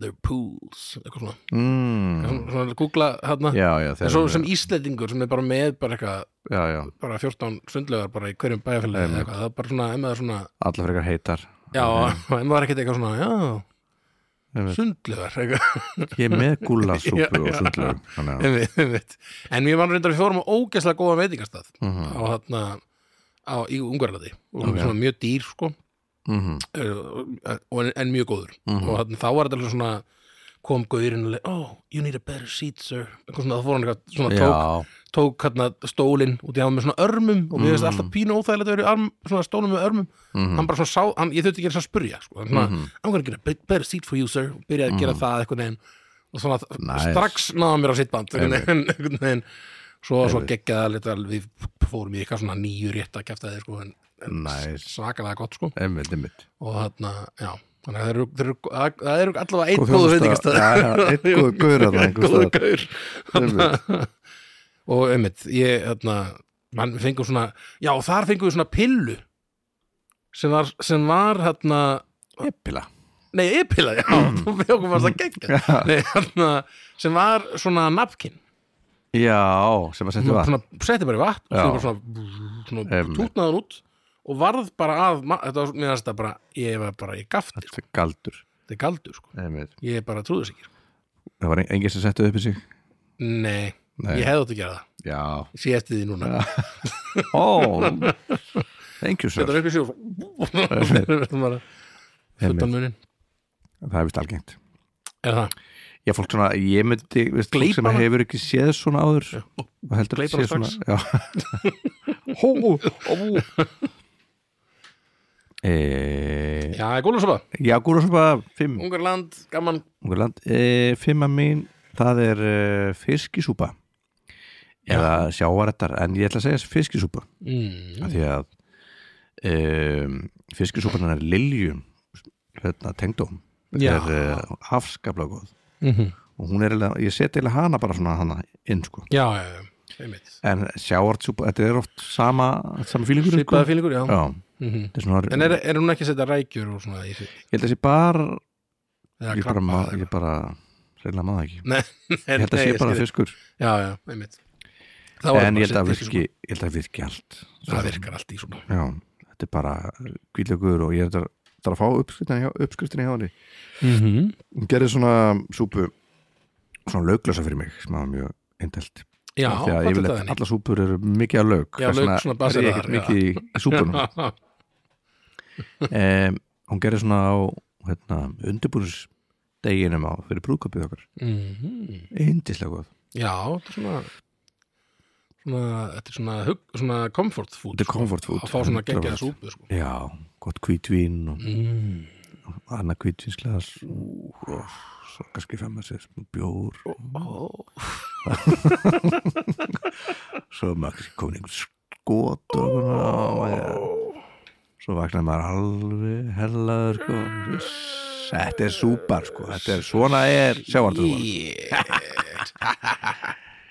Speaker 2: their pools eitthvað svona,
Speaker 1: mm,
Speaker 2: svona, svona googla þarna
Speaker 1: já, já þeir
Speaker 2: svo
Speaker 1: eru-
Speaker 2: sem Íslendingur sem er bara með bara eitthvað,
Speaker 1: Já, já,
Speaker 2: bara 14 sundlegar bara í hverjum bæjarfélagi eða
Speaker 1: Einmitt.
Speaker 2: eitthvað, það er bara svona, ef maður svona
Speaker 1: alla frekar heitar
Speaker 2: já, ef maður er ekkert eitthvað svona, já
Speaker 1: Einmitt.
Speaker 2: sundlegar, eitthvað
Speaker 1: Ég er með
Speaker 2: Já,
Speaker 1: gúlarsúpu og
Speaker 2: já.
Speaker 1: sundlögum Þannig að
Speaker 2: einmitt, einmitt. en ég mann reyndar að við fórum á ógeðslega góða veitingastað
Speaker 1: Mhm,
Speaker 2: á þarna á, í Ungarlandi og
Speaker 1: Ok.
Speaker 2: svona mjög dýr sko
Speaker 1: mhm,
Speaker 2: uh, og- en, en mjög góður
Speaker 1: mhm.
Speaker 2: og þarna, þá var þetta alveg svona kom guðurinn og leið, oh, you need a better seat sir eitthvað svona, þá fór hann eitthvað
Speaker 1: mhm.
Speaker 2: svona tók,
Speaker 1: Já,
Speaker 2: tók hérna, stólinn út í hann með svona örmum og mér finnst
Speaker 1: Mm.
Speaker 2: alltaf pínu óþægilegt að vera í arm, svona stólum með örmum
Speaker 1: mhm,
Speaker 2: hann bara svona sá, hann, ég þurfti ekki eins að spurja sko. hann svona,
Speaker 1: mhm
Speaker 2: I'm gonna get a bit- better seat for you sir og byrjaði að gera það eitthvað neginn og svona
Speaker 1: Nice.
Speaker 2: strax náða mér á sitt band
Speaker 1: Einmitt.
Speaker 2: einhvern veginn- einhvern veginn. svo, svo
Speaker 1: Einmitt.
Speaker 2: geggjaða lita, við fórum í eitthvað svona nýju rétt að kæfta þeir sko, en, en
Speaker 1: Nice.
Speaker 2: svakalega gott sko
Speaker 1: Einmitt, einmitt
Speaker 2: og þarna, já þannig að það eru, það eru, það- það eru allavega einn
Speaker 1: Góð
Speaker 2: góðu
Speaker 1: þjónusta.
Speaker 2: veitingastæð
Speaker 1: Já, já, einn góður gaur þarna, einhvers
Speaker 2: góðu
Speaker 1: staðar.
Speaker 2: gaur
Speaker 1: Einmitt.
Speaker 2: og einmitt, ég, þarna mann fengum svona, já þar fengum við svona pillu sem var, sem var þarna,
Speaker 1: Eppila
Speaker 2: nei yppila já,
Speaker 1: Mm.
Speaker 2: þú við okkur varst að gegja
Speaker 1: Já.
Speaker 2: nei, þarna, sem var svona napkin,
Speaker 1: Já, sem að setja vatn
Speaker 2: svona setti bara í vatn
Speaker 1: Já.
Speaker 2: sem bara svona, svona
Speaker 1: Einmitt.
Speaker 2: tútnaðan út og varð bara að, ma- þetta var, mér fannst þetta bara ég var bara, ég gafti, sko.
Speaker 1: Þetta er galdur
Speaker 2: þetta er galdur sko.
Speaker 1: Einmitt.
Speaker 2: ég bara trúðis ekki, sko.
Speaker 1: Það var en- enginn sem settu upp í sig
Speaker 2: nei
Speaker 1: Nei.
Speaker 2: Ég hefði átt að gera það,
Speaker 1: Já
Speaker 2: ég sé eftir því núna
Speaker 1: Ó, thank you
Speaker 2: Þetta
Speaker 1: sir
Speaker 2: er upp í sig og svo bara Futtan munin,
Speaker 1: Það er vist algengt
Speaker 2: er það?
Speaker 1: Já, fólk svona, ég myndi, veist, fólk sem
Speaker 2: Gleypana.
Speaker 1: hefur ekki séð svona áður og heldur að
Speaker 2: Gleypana
Speaker 1: sé svona Já Hó, ó e, Eh,
Speaker 2: Já, Gólfsópa,
Speaker 1: Já, Gúrasópa 5
Speaker 2: Ungarland, gaman
Speaker 1: Ungurland e, Fimma mín, það er e, fiskisúpa eða sjávarettar, en ég ætla að segja fiskisúpa af
Speaker 2: mm.
Speaker 1: því að um, fiskisúpan er liljum hérna, tengdóm
Speaker 2: Já.
Speaker 1: er uh, hafskaplega góð
Speaker 2: Mm -hmm.
Speaker 1: og hún er, eiginlega- ég seti eiginlega hana bara svona hana inn sko
Speaker 2: Já, já, já, einmitt
Speaker 1: en sjáartsúpa, þetta er oft sama sama fílingur
Speaker 2: Svipaða fílingur, já,
Speaker 1: um sko. Já,
Speaker 2: Mm
Speaker 1: þetta er svona,
Speaker 2: En er, er hún ekki að setja rækjur og svona í sig?
Speaker 1: ég held að sé bara
Speaker 2: Eða
Speaker 1: ég bara,
Speaker 2: krabba
Speaker 1: ma, ég
Speaker 2: eða eitthvað?
Speaker 1: bara reyna maður það ekki,
Speaker 2: Nei,
Speaker 1: ég held að
Speaker 2: nei,
Speaker 1: sé bara
Speaker 2: skil.
Speaker 1: fiskur
Speaker 2: Já, já, einmitt Þá
Speaker 1: en
Speaker 2: er bara
Speaker 1: ég held að
Speaker 2: setja í sig
Speaker 1: virki, ég held að virki allt
Speaker 2: svona- Það virkar allt í svona
Speaker 1: Já, þetta er bara kvíðlegur og ég er þetta þetta er að fá uppskriftina hjá, uppskriftina hjá henni
Speaker 2: mm
Speaker 1: Mhm.
Speaker 2: -hmm.
Speaker 1: hún gerði svona súpu svona lauglösa fyrir mig sem var mjög eindelt
Speaker 2: Já,
Speaker 1: því að
Speaker 2: fattu
Speaker 1: yfirleitt allar súpur eru mikið af laug
Speaker 2: Já,
Speaker 1: þess
Speaker 2: lauk
Speaker 1: vegna
Speaker 2: svona
Speaker 1: er ég
Speaker 2: baseraðar,
Speaker 1: ekkert
Speaker 2: já.
Speaker 1: mikið í, í súpunum
Speaker 2: henni
Speaker 1: um, hún gerði svona á hérna, undirbúrsdeginum á fyrir brúðköpið okkar
Speaker 2: Mhm.
Speaker 1: eindislega góð
Speaker 2: Já, þetta er svona svona, þetta er svona, hug, svona comfort food sko.
Speaker 1: Þetta er comfort food,
Speaker 2: að fá svona
Speaker 1: 100%.
Speaker 2: geggjað súpu sko.
Speaker 1: Já, gott kvítvín og
Speaker 2: mm.
Speaker 1: annað kvítvínsglas og svo kannski fram að sér smá bjór
Speaker 2: oh.
Speaker 1: svo er maður kannski komin einhvern skot og svona og svo vaknaði maður alveg hellaður sko Þetta er súpar sko, þetta er svona er sjáandur var.
Speaker 2: yeah.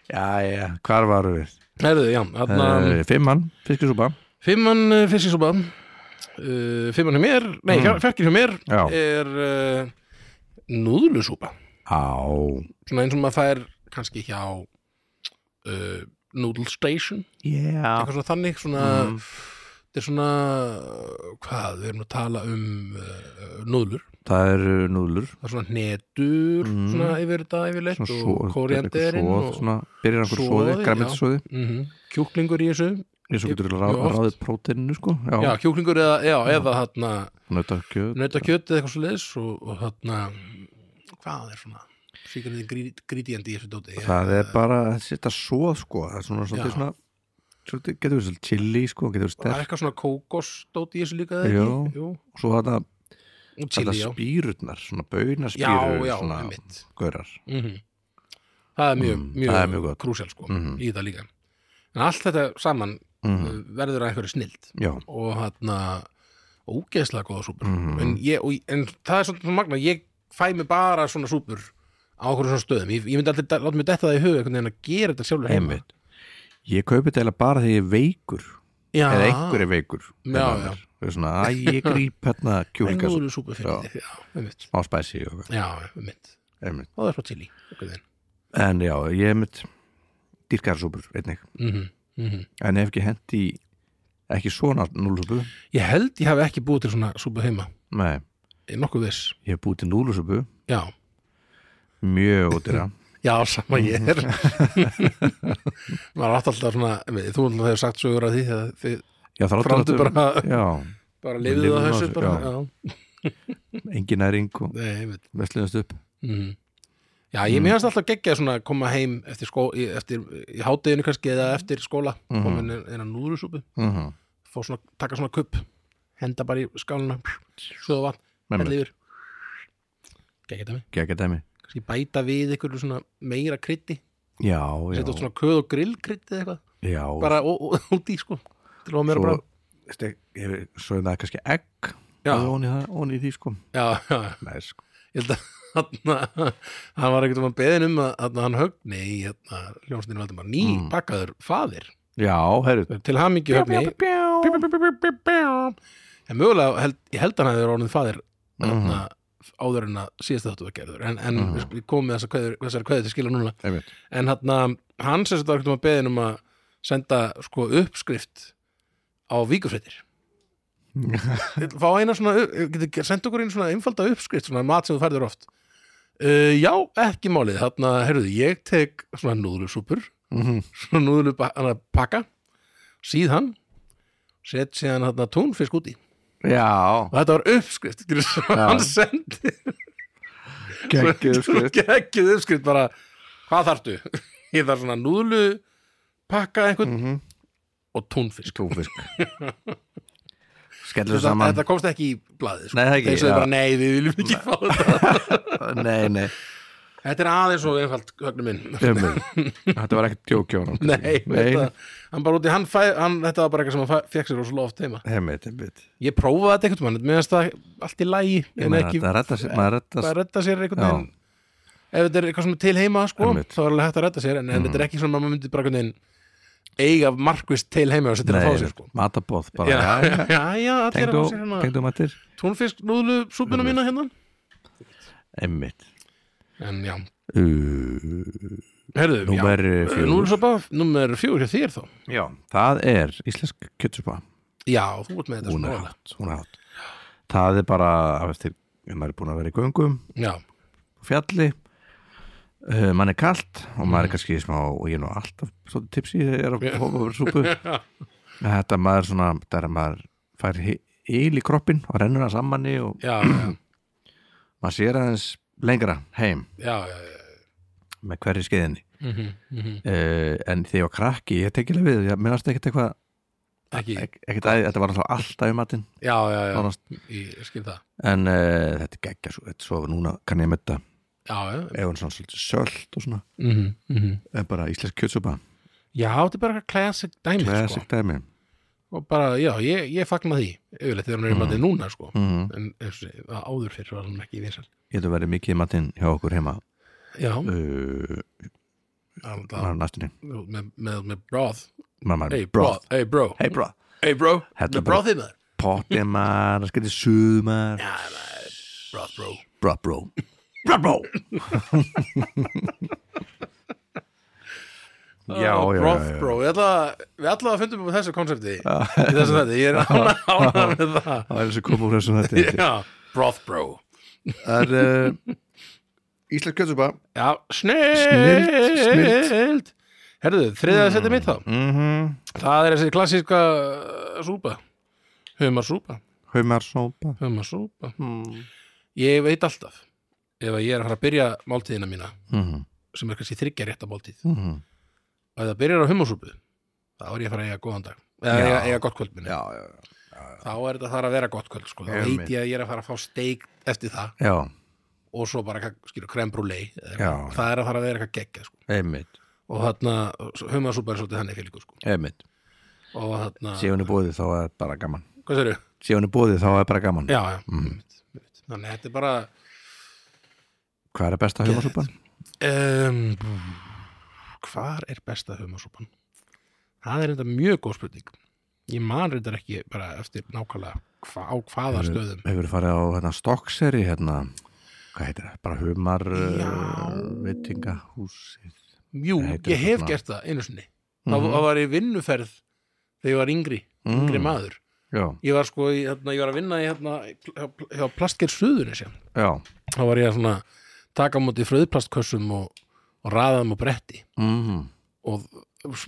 Speaker 1: Já, já, hvar varum við?
Speaker 2: Herðu, já, þarna um,
Speaker 1: Uh, Fimmann, fiskisúpa
Speaker 2: Fimmann uh, fiskisúpa uh, Fimmann hjá mér, nei, mm. fjarkinn hjá mér
Speaker 1: Já.
Speaker 2: er uh, núðlusúpa
Speaker 1: Á,
Speaker 2: svona eins og maður fær kannski hjá uh, Noodle Station
Speaker 1: já Mm.
Speaker 2: eitthvað svona þannig svona, þetta er svona hvað, við erum að tala um uh, núðlur,
Speaker 1: Það eru núðlur
Speaker 2: það er svona hnetur
Speaker 1: Mm.
Speaker 2: svona yfir þetta yfirleitt
Speaker 1: Svona svo-
Speaker 2: og korianderinn
Speaker 1: eitthvað
Speaker 2: og
Speaker 1: svona, Byrjar einhver
Speaker 2: Soði,
Speaker 1: svoði,
Speaker 2: já.
Speaker 1: græmitisvoði
Speaker 2: mm kjúklingur í þessu
Speaker 1: eins og getur ráð,
Speaker 2: Mjög oft.
Speaker 1: ráðið próteininu sko já,
Speaker 2: já, kjúklingur eða, já, eða þarna
Speaker 1: nautakjöt
Speaker 2: nautakjöt eða eitthvað svo leiðis og, og þarna, hvað er svona síkarnið grítjandi í þessu dóti
Speaker 1: það er bara að setja svo sko það er svona
Speaker 2: Já.
Speaker 1: svolítið svona svolítið, getur verið svolítið chili sko, getur verið
Speaker 2: það er
Speaker 1: sterk
Speaker 2: eitthvað svona kókos dóti í þessu líka eða
Speaker 1: Jú.
Speaker 2: ekki? Jú.
Speaker 1: og svo þetta,
Speaker 2: og
Speaker 1: þetta
Speaker 2: chili, já
Speaker 1: spýrurnar svona baunaspýrur
Speaker 2: já, já,
Speaker 1: svona
Speaker 2: einmitt
Speaker 1: gaurar
Speaker 2: Mhm. það er mjög,
Speaker 1: Mm,
Speaker 2: mjög,
Speaker 1: það er mjög gott.
Speaker 2: krúsjál sko,
Speaker 1: Mhm.
Speaker 2: í það líka en allt þetta saman uh,
Speaker 1: mm,
Speaker 2: verður að einhverju snild
Speaker 1: já,
Speaker 2: og þarna ógeðslega góða súpur
Speaker 1: Mhm.
Speaker 2: en, ég, og, en það er svona magna ég fæ mig bara svona súpur á okkur svona stöðum, ég, ég myndi aldrei da- láta mig detta það í hug einhvern veginn að gera þetta sjálfur heima
Speaker 1: einmitt ég kaupi þetta eiginlega bara þegar ég er veikur
Speaker 2: já,
Speaker 1: eða einhver er veikur
Speaker 2: Ah. Já,
Speaker 1: heima
Speaker 2: já.
Speaker 1: á mér. það er svona, æ, ég grýp hérna kjúlinga
Speaker 2: einhverju súpur fyrir
Speaker 1: Já.
Speaker 2: þig já, einmitt,
Speaker 1: á spæsi og eitthvað,
Speaker 2: já, einmitt
Speaker 1: einmitt
Speaker 2: og það er svona chili einhvern veginn.
Speaker 1: en já, ég er mitt dýrkarsúpur, einnig
Speaker 2: Mhm, mhm.
Speaker 1: en ef ekki hendi ekki svona núlusöpu
Speaker 2: ég held ég hafi ekki búið til svona súpu heima
Speaker 1: nei,
Speaker 2: Ég er nokkuð viss,
Speaker 1: ég hef búið til núlusöpu
Speaker 2: já
Speaker 1: mjög ódýra
Speaker 2: Já, sama ég er maður átt alltaf svona einmitt, þú náttúrulega hefur sagt sögur af því þegar þið
Speaker 1: já, það
Speaker 2: frándu bara,
Speaker 1: já,
Speaker 2: bara lifið á
Speaker 1: Lifðum
Speaker 2: þessu
Speaker 1: á þessu,
Speaker 2: bara,
Speaker 1: já.
Speaker 2: já.
Speaker 1: engin næring og
Speaker 2: Nei, einmitt.
Speaker 1: vesliðast upp
Speaker 2: Mhm. já, ég mér hans alltaf geggja svona að koma heim eftir, skó, í, eftir í hádeginu kannski eða eftir skóla
Speaker 1: Mhm.
Speaker 2: koma inn en að núðursúpu
Speaker 1: mm -hmm.
Speaker 2: fá svona, taka svona kupp henda bara í skáluna svo vatn, hella
Speaker 1: nefnilegt,
Speaker 2: yfir geggja dæmi,
Speaker 1: gegja dæmi
Speaker 2: kannski bæta við einhverju svona meira krytti
Speaker 1: já, já,
Speaker 2: setja út svona köð og grill krytti eða eitthvað
Speaker 1: já
Speaker 2: bara ó- ó- út í sko til að fá meira
Speaker 1: svo,
Speaker 2: bragð.
Speaker 1: stek, hef, svo er það kannski egg
Speaker 2: Já.
Speaker 1: ón í, það, ofan í því sko
Speaker 2: já, já, já.
Speaker 1: nei, sko
Speaker 2: ég held að hann, hann var ekkert um að beðin um að hann, hérna, hann högni í hann, hljómsnýri Valdimar ný
Speaker 1: Mm.
Speaker 2: pakkaður faðir
Speaker 1: já, herru
Speaker 2: til hamingju högni en mögulega held, ég held hann að þeir orðin faðir mm.
Speaker 1: Mhm.
Speaker 2: áður en að síðast þáttu var gerður en, en
Speaker 1: Mhm.
Speaker 2: mm. við komum með þessar kveður, þessar kveður til skila núna
Speaker 1: Einmitt.
Speaker 2: en hann, hann sem þetta var ekkert um að beðin um að senda sko uppskrift á víkufréttir fá eina svona, getur sendt okkur einu svona einfalda uppskrift, svona mat sem þú færður oft uh, já, ekki málið þarna, herruðu, ég tek svona núðlusúpur
Speaker 1: Mhm.
Speaker 2: svona núðlupakka síðan set síðan þarna túnfisk út í
Speaker 1: já,
Speaker 2: og þetta var uppskrift skilur, sem
Speaker 1: Já.
Speaker 2: hann sendi
Speaker 1: geggjuð sko
Speaker 2: geggjuð uppskrift bara, hvað þarftu? ég þarf svona núðlupakka einhvern
Speaker 1: Mhm.
Speaker 2: og túnfisk
Speaker 1: túfisk skellur
Speaker 2: Þetta,
Speaker 1: saman
Speaker 2: þetta komst ekki í blaðið sko.
Speaker 1: Nei, það ekki,
Speaker 2: Þeir sögðu
Speaker 1: já.
Speaker 2: bara, nei, við viljum ekki fá þetta
Speaker 1: nei, nei
Speaker 2: Þetta er aðeins og einfalt högnum minn
Speaker 1: Dömur. Þetta var ekkert djókjónum
Speaker 2: Nei,
Speaker 1: Nei.
Speaker 2: Þetta, hann bara úti, hann fæ, hann, þetta var bara eitthvað sem hann fekk sér rosalega oft heima
Speaker 1: Heimitt, heimitt
Speaker 2: Ég prófaði þetta einhvern veginn, mér finnst það allt í lægi en ekki,
Speaker 1: Það redda sér, maður
Speaker 2: það
Speaker 1: redda
Speaker 2: redda sér
Speaker 1: Já.
Speaker 2: einhvern veginn Ef þetta er eitthvað sem er til heima, sko,
Speaker 1: Einmitt. Mm.
Speaker 2: þá er alveg hægt að redda sér en, en þetta er ekki svona að maður myndi bara einhvern veginn eiga markvist til heima og setja að fá sér, sko
Speaker 1: matabóð bara
Speaker 2: Já,
Speaker 1: já, já.
Speaker 2: já, já, allir að fá sér
Speaker 1: Tengdó,
Speaker 2: hérna
Speaker 1: tengdó mættir
Speaker 2: túnfisk núðlu súpuna mína hérna
Speaker 1: Heimitt
Speaker 2: En já,
Speaker 1: Númer
Speaker 2: herðu, já,
Speaker 1: eh,
Speaker 2: nú er
Speaker 1: fjögur
Speaker 2: svo bara númer fjögur hjá þér þá
Speaker 1: Já, það er íslensk kjötsupa
Speaker 2: Já, þú ert með þetta
Speaker 1: Hún er
Speaker 2: svona
Speaker 1: hátt, hún er hátt Það er bara af eftir, ef maður er búin að vera í göngum
Speaker 2: Já,
Speaker 1: á fjalli uh, mann er kalt og maður er kannski smá og ég er nú alltaf svolítið tipsi þegar ég er að
Speaker 2: Mm. Já.
Speaker 1: hópa over súpu En þetta maður svona, þetta er að maður fær hi- yl í kroppinn og rennur að samanni og
Speaker 2: já, já,
Speaker 1: maður sér aðeins lengra heim
Speaker 2: já, já, já.
Speaker 1: með hverri skeiðinni
Speaker 2: mhm, mhm.
Speaker 1: uh, en þegar ég var krakki, ég tekið við ég minnast ekkert eitthvað
Speaker 2: Ekki-
Speaker 1: ek- ekkert að, þetta var náttúrulega alltaf í matinn
Speaker 2: já, já, já,
Speaker 1: nánast.
Speaker 2: ég skil það
Speaker 1: en uh, þetta er geggja svo, þetta svo núna kann ég með þetta,
Speaker 2: já, já,
Speaker 1: ef hún svona svolítið sölt og svona,
Speaker 2: mhm, mhm
Speaker 1: en bara íslensk kjötsupa
Speaker 2: já, þetta er bara eitthvað classic dæmi
Speaker 1: classic
Speaker 2: Sko.
Speaker 1: dæmi
Speaker 2: og bara, já, ég, ég fagna því yfirleitt þegar hún er í matið núna, sko
Speaker 1: mm.
Speaker 2: en eins og segi, áður fyrir var hún ekki í vinsal
Speaker 1: ég held að verið mikið í matinn hjá okkur heima
Speaker 2: já,
Speaker 1: uh,
Speaker 2: alltaf
Speaker 1: á næstunni
Speaker 2: með, með, með broth
Speaker 1: Mamma,
Speaker 2: hey broth, hey bro,
Speaker 1: hey bro,
Speaker 2: hey bro
Speaker 1: Hellu
Speaker 2: með
Speaker 1: bara-
Speaker 2: brothið maður
Speaker 1: potið maður, skritið suðumar
Speaker 2: já, maður, broth bro
Speaker 1: bra bro, bra bro já,
Speaker 2: Ah,
Speaker 1: já,
Speaker 2: broth
Speaker 1: já, já.
Speaker 2: bro, Ég ætla, að- við ætla að fundum upp á þessu konsepti í þessu þetta, ég er ána, ána með það
Speaker 1: það er þessi komur þessum þetta
Speaker 2: já, broth bro
Speaker 1: það er uh, íslensk kjötsupa
Speaker 2: já, snilt
Speaker 1: Snilld, snilld.
Speaker 2: herðu, þriðja mm. setið mitt þá
Speaker 1: mm -hmm.
Speaker 2: það er þessi klassíska uh, súpa humarsúpa,
Speaker 1: haumarsópa
Speaker 2: humarsúpa
Speaker 1: mm.
Speaker 2: ég veit alltaf ef að ég er að fara að byrja máltíðina mína
Speaker 1: Mm
Speaker 2: sem er kannski þryggja rétta máltíð
Speaker 1: -hmm.
Speaker 2: og ef það byrjar á hummusúpu þá er ég að fara að eiga góðan dag eða
Speaker 1: Já.
Speaker 2: eiga, eiga gott kvöld minni
Speaker 1: já, já, já.
Speaker 2: þá er þetta þar að vera gott kvöld sko. þá
Speaker 1: Einmitt.
Speaker 2: veit ég að ég er að fara að fá steik eftir það
Speaker 1: já,
Speaker 2: og svo bara skilur krembrúlei
Speaker 1: Já.
Speaker 2: það er að fara að vera eitthvað geggja sko.
Speaker 1: einmitt
Speaker 2: og þarna hummusúpa er svolítið þannig fylgur sko.
Speaker 1: einmitt,
Speaker 2: og þarna,
Speaker 1: sé hún er bóðið þá er bara gaman
Speaker 2: hvað sér þau?
Speaker 1: sé hún er bóðið þá er bara gaman
Speaker 2: Já, já,
Speaker 1: Mhm.
Speaker 2: einmitt, einmitt. þannig að þetta er bara
Speaker 1: hvað er besta haumarsópan?
Speaker 2: um, hvar er besta humarsúpan? Það er þetta mjög góð spurning ég man reyndar ekki bara eftir nákvæmlega hva, á hvaða stöðum
Speaker 1: hefur farið á hérna, stokkseri hérna, hvað heitir það, bara humar eh,
Speaker 2: Já.
Speaker 1: veitingahúsið
Speaker 2: Jú,
Speaker 1: Nei, þetta er Mhm.
Speaker 2: ég hef
Speaker 1: svona-
Speaker 2: gert það einu sinni mm það var ég vinnuferð þegar ég var yngri,
Speaker 1: Mhm.
Speaker 2: yngri maður
Speaker 1: já,
Speaker 2: ég var sko, í, hérna, ég var að vinna í, hérna, hjá, hjá plastgeir suðunni sem
Speaker 1: já,
Speaker 2: þá var ég að svona taka á móti fröðplastkössum og, og raðaðum á bretti
Speaker 1: mm -hmm.
Speaker 2: og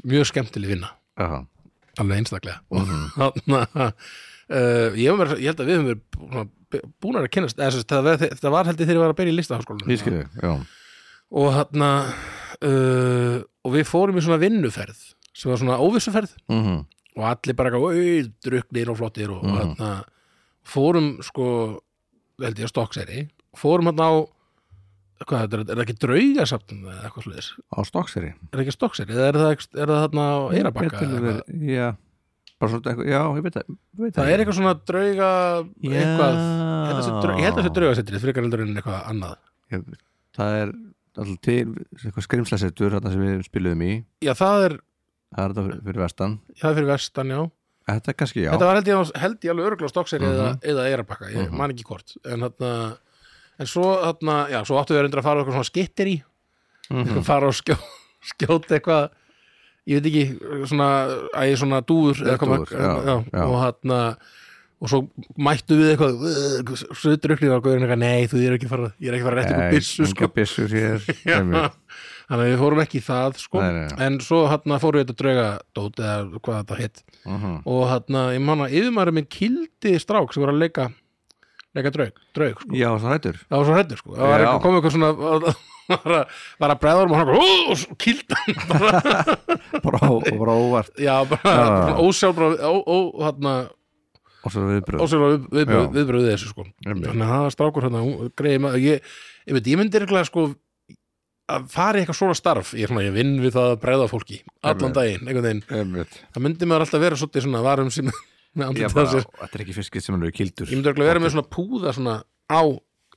Speaker 2: mjög skemmtileg vinna
Speaker 1: já. mhm.
Speaker 2: alveg einstaklega og þannig að Uh, ég, var, ég held að við höfum verið bú- svona be- búnar að kynast eða, sérst, það, var, það var heldur þegar ég var að byrja í listaháskólanum
Speaker 1: ég skilði, já
Speaker 2: og hann uh, og við fórum í svona vinnuferð sem var svona óvissuferð
Speaker 1: mm -hmm.
Speaker 2: og allir bara gaf, druknir og flottir og, mm. og þarna fórum sko, held ég að stokkseri fórum hann á hvað, þetta er, er það ekki draugasafn eða eitthvað sluðis,
Speaker 1: á stokkseri
Speaker 2: er það ekki stokkseri eða er það, er það þarna á Eirabakka eða eitthvað?
Speaker 1: já, bara svolítið eitthvað, já, ég veit það veit
Speaker 2: það er eitthvað svona drauga
Speaker 1: Já.
Speaker 2: eitthvað, ég held að sé drau- ég held að þessi draugasetrið frekar heldur en eitthvað annað
Speaker 1: Ég- það er alltaf til eitthvað skrimslasettur þarna sem við spiluðum í
Speaker 2: já það er,
Speaker 1: það er þetta fyrir- fyrir vestan
Speaker 2: það er fyrir vestan já,
Speaker 1: þetta er kannski já,
Speaker 2: þetta var held ég, á- held ég alveg örgulega stokkseri
Speaker 1: Mhm.
Speaker 2: eða, eða eirabakka, ég
Speaker 1: Mhm.
Speaker 2: man ekki hvort en þarna en svo þarna, já, svo áttu við reyndar að fara á eitthvað svona skytteri
Speaker 1: Mhm.
Speaker 2: eitthvað fara og skjó, skjóta eitthvað ég veit ekki, svona æ, svona dúður, eða hvað
Speaker 1: Dúfur,
Speaker 2: maður-
Speaker 1: já, já.
Speaker 2: og þarna og svo mættu við eitthvað söðdruklið og gauðin eitthvað, nei, þú ég er ekki að fara ég er ekki að fara að rétt
Speaker 1: Nei,
Speaker 2: eitthvað byssu sko.
Speaker 1: engar byssur hér
Speaker 2: Já,
Speaker 1: Einmitt.
Speaker 2: þannig að við fórum ekki í það sko.
Speaker 1: Nei, nei, nei.
Speaker 2: en svo hann fórum við þetta draugadót eða hvað þetta hitt
Speaker 1: Mhm.
Speaker 2: og hann, ég man að yfirmaður minn kildi strák sem var að leika leika draug, draug sko.
Speaker 1: já, það hættur
Speaker 2: það var svo hrættur sko. það var
Speaker 1: Já.
Speaker 2: eitthvað komið eitthvað svona var að, var að bregða um og hann bara, "Ú", og kildi hann bara,
Speaker 1: bara, á- bara óvart
Speaker 2: já, bara,
Speaker 1: Já.
Speaker 2: bara ósjálfra ó, ó, hann,
Speaker 1: og svo viðbröð
Speaker 2: ósjálfra við, við,
Speaker 1: Já.
Speaker 2: viðbröðu þessu sko.
Speaker 1: Einmitt.
Speaker 2: þannig að það var strákur hann greiði maður ég, ég, veit, ég myndi eitthvað sko að fara í eitthvað svona starf ég, er svona, ég vinn við það að bregða fólki allan
Speaker 1: Einmitt.
Speaker 2: daginn, einhvern veginn
Speaker 1: Einmitt.
Speaker 2: það myndi maður alltaf vera svolítið svona varum sem með
Speaker 1: Já,
Speaker 2: andlitið á
Speaker 1: bara,
Speaker 2: sér
Speaker 1: þetta er ekki fiskið sem hann eru kildur
Speaker 2: ég myndi örugglega vera með svona púða svona á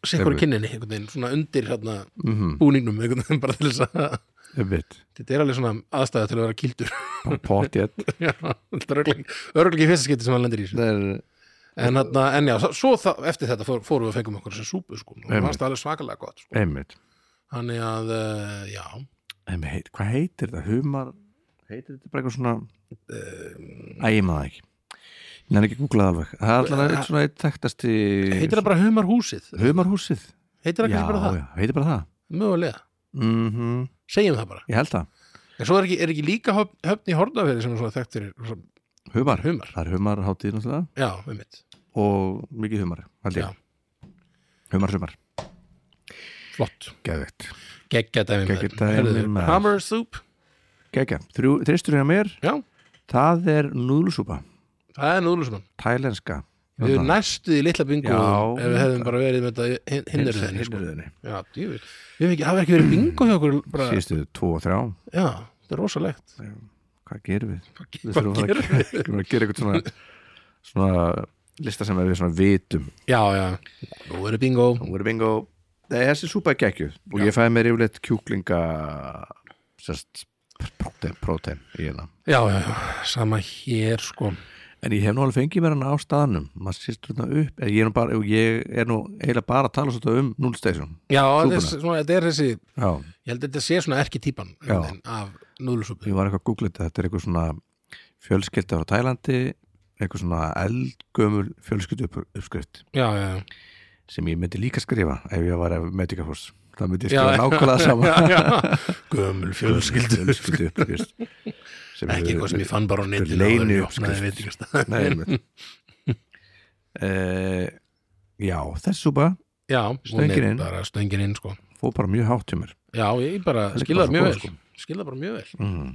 Speaker 2: sikkur
Speaker 1: Einmitt.
Speaker 2: kinninni, einhvern veginn, svona undir hérna,
Speaker 1: mm -hmm.
Speaker 2: búningnum, einhvern veginn bara til þess að
Speaker 1: Einmitt.
Speaker 2: þetta er alveg svona aðstæða til að vera kildur
Speaker 1: Bara potið
Speaker 2: Já, þetta er örglega í fyrsta skipti sem hann lendir í sér
Speaker 1: það er
Speaker 2: en, hérna, en já, svo það, eftir þetta fór, fórum við að fengum okkur sem súpu sko, og
Speaker 1: Einmitt.
Speaker 2: fannst það alveg svakalega gott sko.
Speaker 1: einmitt
Speaker 2: þannig að, eh, já
Speaker 1: Einmitt, heit, hvað heitir þetta? Humar heitir þetta bara eitthvað svona
Speaker 2: Eh,
Speaker 1: æ, ég maður það ekki ég nefnir ekki að googla það alveg það er alltaf eitt svona eitt þekktasti
Speaker 2: heitir það bara humarhúsið
Speaker 1: humarhúsið
Speaker 2: heitir það
Speaker 1: já,
Speaker 2: kannski bara það,
Speaker 1: já, heitir bara það
Speaker 2: mögulega
Speaker 1: mm
Speaker 2: segjum það bara,
Speaker 1: ég held það,
Speaker 2: en svo er ekki, er ekki líka höfn, höfn í Hortafjörði sem er svona þekkt fyrir svona-
Speaker 1: humar
Speaker 2: humar,
Speaker 1: það er humarhátíð náttúrulega
Speaker 2: já, með mitt
Speaker 1: og mikið humar, held ég
Speaker 2: Já.
Speaker 1: humar sumar,
Speaker 2: flott,
Speaker 1: geðveitt
Speaker 2: geggja dæmi maður.
Speaker 1: Geggjað dæmi,
Speaker 2: Heyrðu,
Speaker 1: maður.
Speaker 2: Hammer soup
Speaker 1: Gekja, þristur hjá mér
Speaker 2: Já.
Speaker 1: Það er núðlusúpa,
Speaker 2: það er núðlusman
Speaker 1: tælenska
Speaker 2: við
Speaker 1: Hérna.
Speaker 2: erum næstuð í litla bingo
Speaker 1: Já.
Speaker 2: ef við hefðum bara verið með þetta hinnurðinni sko.
Speaker 1: Hinnurðinni
Speaker 2: já, djúvill það hefur ekki verið bingo hjá okkur bara,
Speaker 1: Sýstu tvo og þrjá
Speaker 2: já, það er rosalegt
Speaker 1: Hvað gerum við? Við
Speaker 2: hvað
Speaker 1: þurfum að,
Speaker 2: gerum
Speaker 1: að, að, að, að gera eitthvað svona, svona lista sem er við svona vitum
Speaker 2: já, já, nú er bingo
Speaker 1: Nú er bingo Nei, þessi súpa er geggjuð og ég fæði mér yfirleitt kjúklinga sérst prótein, prótein í hérna. það
Speaker 2: já, já, já, sama hér sko
Speaker 1: En ég hef nú alveg fengið mér hann á staðanum maður sýstur þarna upp Eh, ég er, nú bara, ég er nú eiginlega bara að tala svolítið um núlstation
Speaker 2: já,
Speaker 1: Súpuna.
Speaker 2: þess, svona, þetta er þessi ég
Speaker 1: Já,
Speaker 2: held að þetta sé svona erki típan
Speaker 1: Já.
Speaker 2: af núðlusúpu
Speaker 1: ég var eitthvað að googla þetta þetta er eitthvað svona fjölskylda frá Tælandi eitthvað svona eldgömul fjölskyldu upp, uppskrift
Speaker 2: já, já, já
Speaker 1: sem ég myndi líka skrifa ef ég var medikafors það myndi ég
Speaker 2: Já,
Speaker 1: skrifa
Speaker 2: já.
Speaker 1: nákvæmlega sama
Speaker 2: já, já. gömul fjölskyldu
Speaker 1: fjölskyldu uppskrift sem hefur-
Speaker 2: ekki eitthvað sem ég fann bara á netinu
Speaker 1: leyni
Speaker 2: áður en ég
Speaker 1: uppskrift.
Speaker 2: opnaði veitingastað.
Speaker 1: Nei, einmitt. Eh, já, þessi súpa
Speaker 2: já, hún
Speaker 1: Stöngin
Speaker 2: er
Speaker 1: inn.
Speaker 2: bara stöngin inn sko.
Speaker 1: fóð bara mjög hátt hjá mér
Speaker 2: já, ég bara
Speaker 1: Það er
Speaker 2: skilða
Speaker 1: bara
Speaker 2: mjög
Speaker 1: svo
Speaker 2: vel
Speaker 1: góð,
Speaker 2: sko. skilða bara mjög vel
Speaker 1: mm.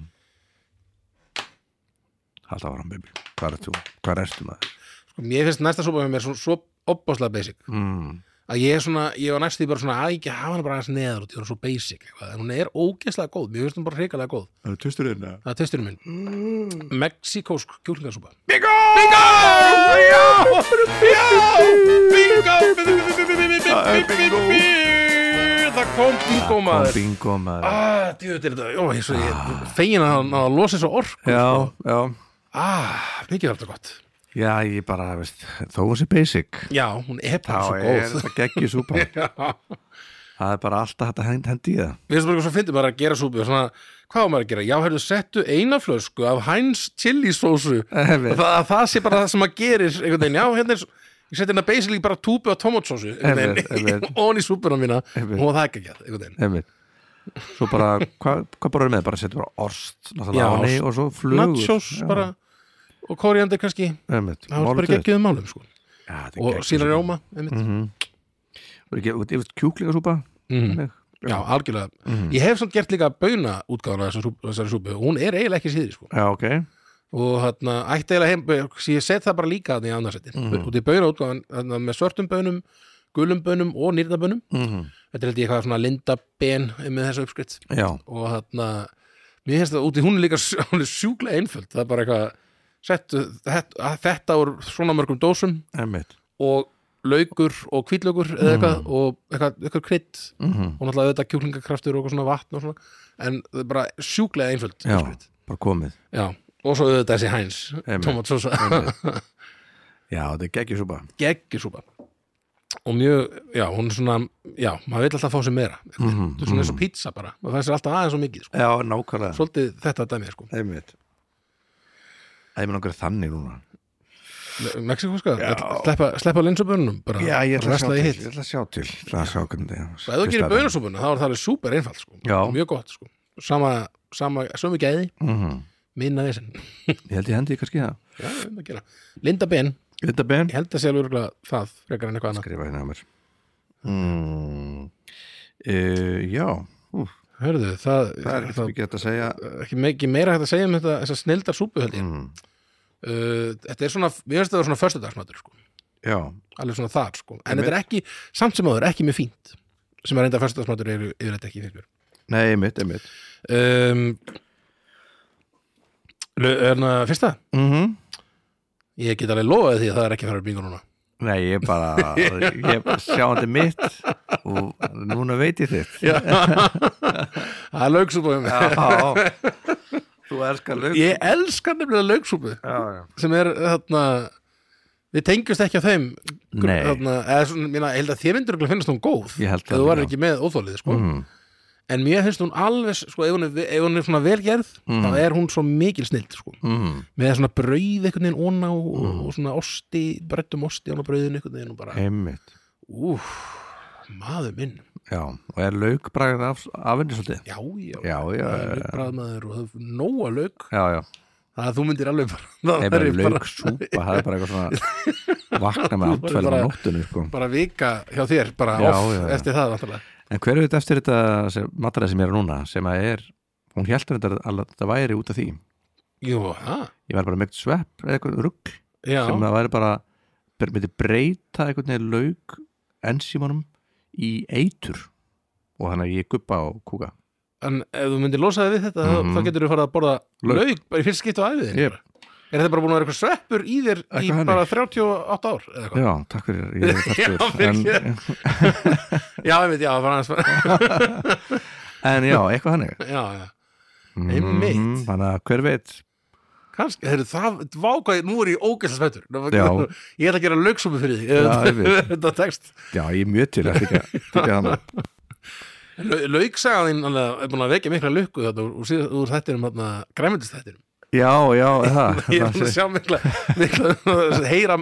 Speaker 1: Hallda var hann, baby Hvað er þú? Hvað ertu maður?
Speaker 2: sko, mér finnst næsta sopa með mér svo, svo opbáslega basic
Speaker 1: Mm.
Speaker 2: að ég er svona, ég var næstu því bara svona að ekki hafa hana bara aðeins neðar út, ég var svo basic eitthvað. en hún er ógeðslega góð, mér finnst hún bara hrikalega góð
Speaker 1: Það er tusturinn að
Speaker 2: það er testurinn minn Mm. Mexikósk kjúklingasúpa
Speaker 1: Bingo! Bingo! Já! Það er bingo!
Speaker 2: það kom bingo
Speaker 1: Kom
Speaker 2: maður
Speaker 1: Bingo maður
Speaker 2: Ah, djúið er þetta, jó, ég svo ég fegin að hann að losa þessu orku
Speaker 1: Já,
Speaker 2: sko.
Speaker 1: já
Speaker 2: Ah, mikið var þetta gott
Speaker 1: Já, ég bara, veist, þó hún sé basic
Speaker 2: Já, hún er
Speaker 1: þá
Speaker 2: bara svo
Speaker 1: er
Speaker 2: góð
Speaker 1: þetta geggjur súpa
Speaker 2: Já.
Speaker 1: Það er bara alltaf þetta hend, hendi í það
Speaker 2: Við erum bara svo fyndið bara að gera súpu svona, Hvað var maður að gera? Já, hefðu settu eina flösku af Heinz chili sósu
Speaker 1: Einmitt.
Speaker 2: það, að það sé bara það sem maður gerir einhvern veginn, já, hérna er, s- ég seti hérna basically bara túpu af tomatsósu einhvern
Speaker 1: Einmitt,
Speaker 2: veginn,
Speaker 1: einmitt.
Speaker 2: ón í súpuna mína
Speaker 1: Einmitt.
Speaker 2: og það ekki ekki, einhvern veginn
Speaker 1: Einmitt. Svo bara, hvað hva bara er með? Bara setja bara orst, náttúrulega
Speaker 2: Já,
Speaker 1: áni
Speaker 2: ost.
Speaker 1: og svo flugur
Speaker 2: Nachos bara og koriander kannski
Speaker 1: Einmitt,
Speaker 2: það var bara
Speaker 1: máltuð.
Speaker 2: geggjöðum málum sko.
Speaker 1: Já, þetta er
Speaker 2: og
Speaker 1: geggjur
Speaker 2: sína
Speaker 1: súpa.
Speaker 2: rjóma einmitt.
Speaker 1: Og ekki, og yfir kjúklingasúpa
Speaker 2: Mhm.
Speaker 1: þannig.
Speaker 2: Já, algjörlega Ég hef samt gert líka bauna útgáðuna þessari súpu og hún er eiginlega ekki síðri sko.
Speaker 1: Já, ok
Speaker 2: og hérna, ætti eiginlega heim sí, ég set það bara líka þarna í annarsettin
Speaker 1: Mhm.
Speaker 2: mm. út í bauna útgáðan hérna, með svörtum baunum gulum baunum og nýrðabönum þetta er held ég eitthvað svona lindaben með þessa uppskritt
Speaker 1: Mhm. Já,
Speaker 2: og hérna, mér finnst það út í hún er líka sj- hún er sjúklega einföld það er bara eitthvað settu, þetta, þetta úr svona mörgum dósum
Speaker 1: emmitt
Speaker 2: og laukur og hvítlaukur eða
Speaker 1: Mhm.
Speaker 2: eitthvað og eitthvað, eitthvað krydd og náttúrulega auðvitað kjúklingakraftur og eitthvað svona vatn og svona en það er bara sjúklega einföld
Speaker 1: Já,
Speaker 2: uppskrift.
Speaker 1: bara komið
Speaker 2: Já, og svo auðvitað þessi hæns
Speaker 1: Einmitt.
Speaker 2: tomatsósa,
Speaker 1: Já, þetta er geggjur súpa
Speaker 2: geggjusúpa og mjög, já, hún er svona já, maður vill alltaf fá sér meira mm
Speaker 1: Mhm.
Speaker 2: -hmm, þetta er svona eins og pizza bara, maður fær sér alltaf aðeins og mikið sko.
Speaker 1: Já, nákvæmlega
Speaker 2: svolítið þetta dæmið, sko
Speaker 1: Einmitt Það er mér langar þannig núna
Speaker 2: Me- Mexikoska,
Speaker 1: Já.
Speaker 2: ætla- sleppa, sleppa linsubönunum bara, bara
Speaker 1: að sjá
Speaker 2: vesla í
Speaker 1: til
Speaker 2: hitt
Speaker 1: Ég ætla að sjá til Ég ætla að sjá hvernig
Speaker 2: og ef þú gerir bönusúpuna, þá er það alveg súper einfalt sko.
Speaker 1: Já.
Speaker 2: mjög gott, sko sama, sama, sömu gæði,
Speaker 1: -hmm.
Speaker 2: minna þessin
Speaker 1: Ég held ég hendi því kannski það
Speaker 2: já, um að gera, Linda Ben
Speaker 1: Þetta ben
Speaker 2: ég held að sé alveg örugglega það, frekar en eitthvað annað
Speaker 1: Skrifa hérna á mér mm. uh, Já, Úf,
Speaker 2: hörðu, það,
Speaker 1: það er ekkert
Speaker 2: það,
Speaker 1: mikið þetta að segja
Speaker 2: ekki mikið meira hægt að segja um þetta, þessa snildar súpu held ég
Speaker 1: mm.
Speaker 2: uh, þetta er svona, við veist að það er svona förstudagsmatur sko,
Speaker 1: Já,
Speaker 2: alveg svona þar sko en
Speaker 1: Einmitt.
Speaker 2: þetta er ekki, samt sem áður, ekki mjög fínt sem að reynda förstudagsmatur eru yfir þetta ekki fyrir
Speaker 1: nei, einmitt, einmitt
Speaker 2: mér um, lö- hérna, fyrsta
Speaker 1: mm
Speaker 2: ég get alveg lofaði því að það er ekki að fara að bingo núna
Speaker 1: Nei, ég bara, ég bara sjáandi mitt og núna veit ég þitt
Speaker 2: það er laugsúpa hjá mér
Speaker 1: Já, þú elskar lauk
Speaker 2: ég elskar nefnilega laugsúpu
Speaker 1: Já, já.
Speaker 2: sem er þarna við tengjumst ekki á þeim gr-
Speaker 1: Nei.
Speaker 2: þarna, eða svona, mína, ég held að þér vindur örugglega að finnast hún góð
Speaker 1: Ég held
Speaker 2: ef
Speaker 1: það,
Speaker 2: þú var
Speaker 1: já.
Speaker 2: ekki með óþólið sko.
Speaker 1: Mm,
Speaker 2: en mér finnst hún alveg sko, ef, hún er, ef hún er svona velgerð
Speaker 1: Mhm.
Speaker 2: þá er hún svo mikil snild sko.
Speaker 1: mm,
Speaker 2: með svona brauð einhvern veginn óna og, og svona osti, brettum osti ána brauðin einhvern veginn og bara
Speaker 1: einmitt
Speaker 2: úf, maður minn
Speaker 1: Já, og er lauk bragðið af, af henni svolítið
Speaker 2: já, já,
Speaker 1: Já, já,
Speaker 2: það er
Speaker 1: já, já.
Speaker 2: laukbræðmaður og það er nóa lauk
Speaker 1: Já, já,
Speaker 2: það að þú myndir alveg bara, það
Speaker 1: Nei, bara
Speaker 2: væri
Speaker 1: lauk súpa, það er bara eitthvað svona vakna með
Speaker 2: Þú verður
Speaker 1: andfælum á
Speaker 2: bara-
Speaker 1: nóttunni sko.
Speaker 2: bara vika hjá þér bara
Speaker 1: Já,
Speaker 2: off
Speaker 1: já, já.
Speaker 2: eftir það náttúrulega
Speaker 1: en hver er þetta eftir þetta sem, mataræði sem ég er núna sem að er, hún heldur þetta að þetta væri út af því ég
Speaker 2: Jú, það,
Speaker 1: væri bara myggt svepp eða eitthvað rugg
Speaker 2: já
Speaker 1: sem að væri bara ber- myndi breyta einhvern veginn lauk ensímanum í eitur og þannig að ég guppa á kúka
Speaker 2: En ef þú myndir losa þig við þetta
Speaker 1: Mhm.
Speaker 2: þá, þá getur þú farið að borða
Speaker 1: Lauk.
Speaker 2: lauk, bara í fyrst skipt á æfiðin
Speaker 1: Jep.
Speaker 2: Er þetta bara búin að vera eitthvað sveppur í þér í
Speaker 1: Eitthvað
Speaker 2: bara 38 ár eða eitthvað?
Speaker 1: já, takk fyrir, ég er
Speaker 2: Já,
Speaker 1: tættur en,
Speaker 2: fyrir. Já, ég veit, já, það var aðeins
Speaker 1: en já, eitthvað hannig
Speaker 2: Já, já,
Speaker 1: Mhm,
Speaker 2: Einmitt.
Speaker 1: þannig að hver veit
Speaker 2: kannski Heyrðu, það, vákvæði, nú er ég ógæsla spettur
Speaker 1: Já.
Speaker 2: Ég ætla að gera lauksúpu fyrir því
Speaker 1: Já, ég veit.
Speaker 2: Þetta tekst
Speaker 1: já, ég er mjög til að þykja þykja þannig
Speaker 2: Lauksagan þín alveg er búin að vekja mikla lukku þetta úr, úr, síð- úr þættinum, hérna, græmyndistættinum
Speaker 1: já, já, það
Speaker 2: Ég
Speaker 1: það
Speaker 2: er búin að
Speaker 1: sé-
Speaker 2: sjá mikla, mikla heyra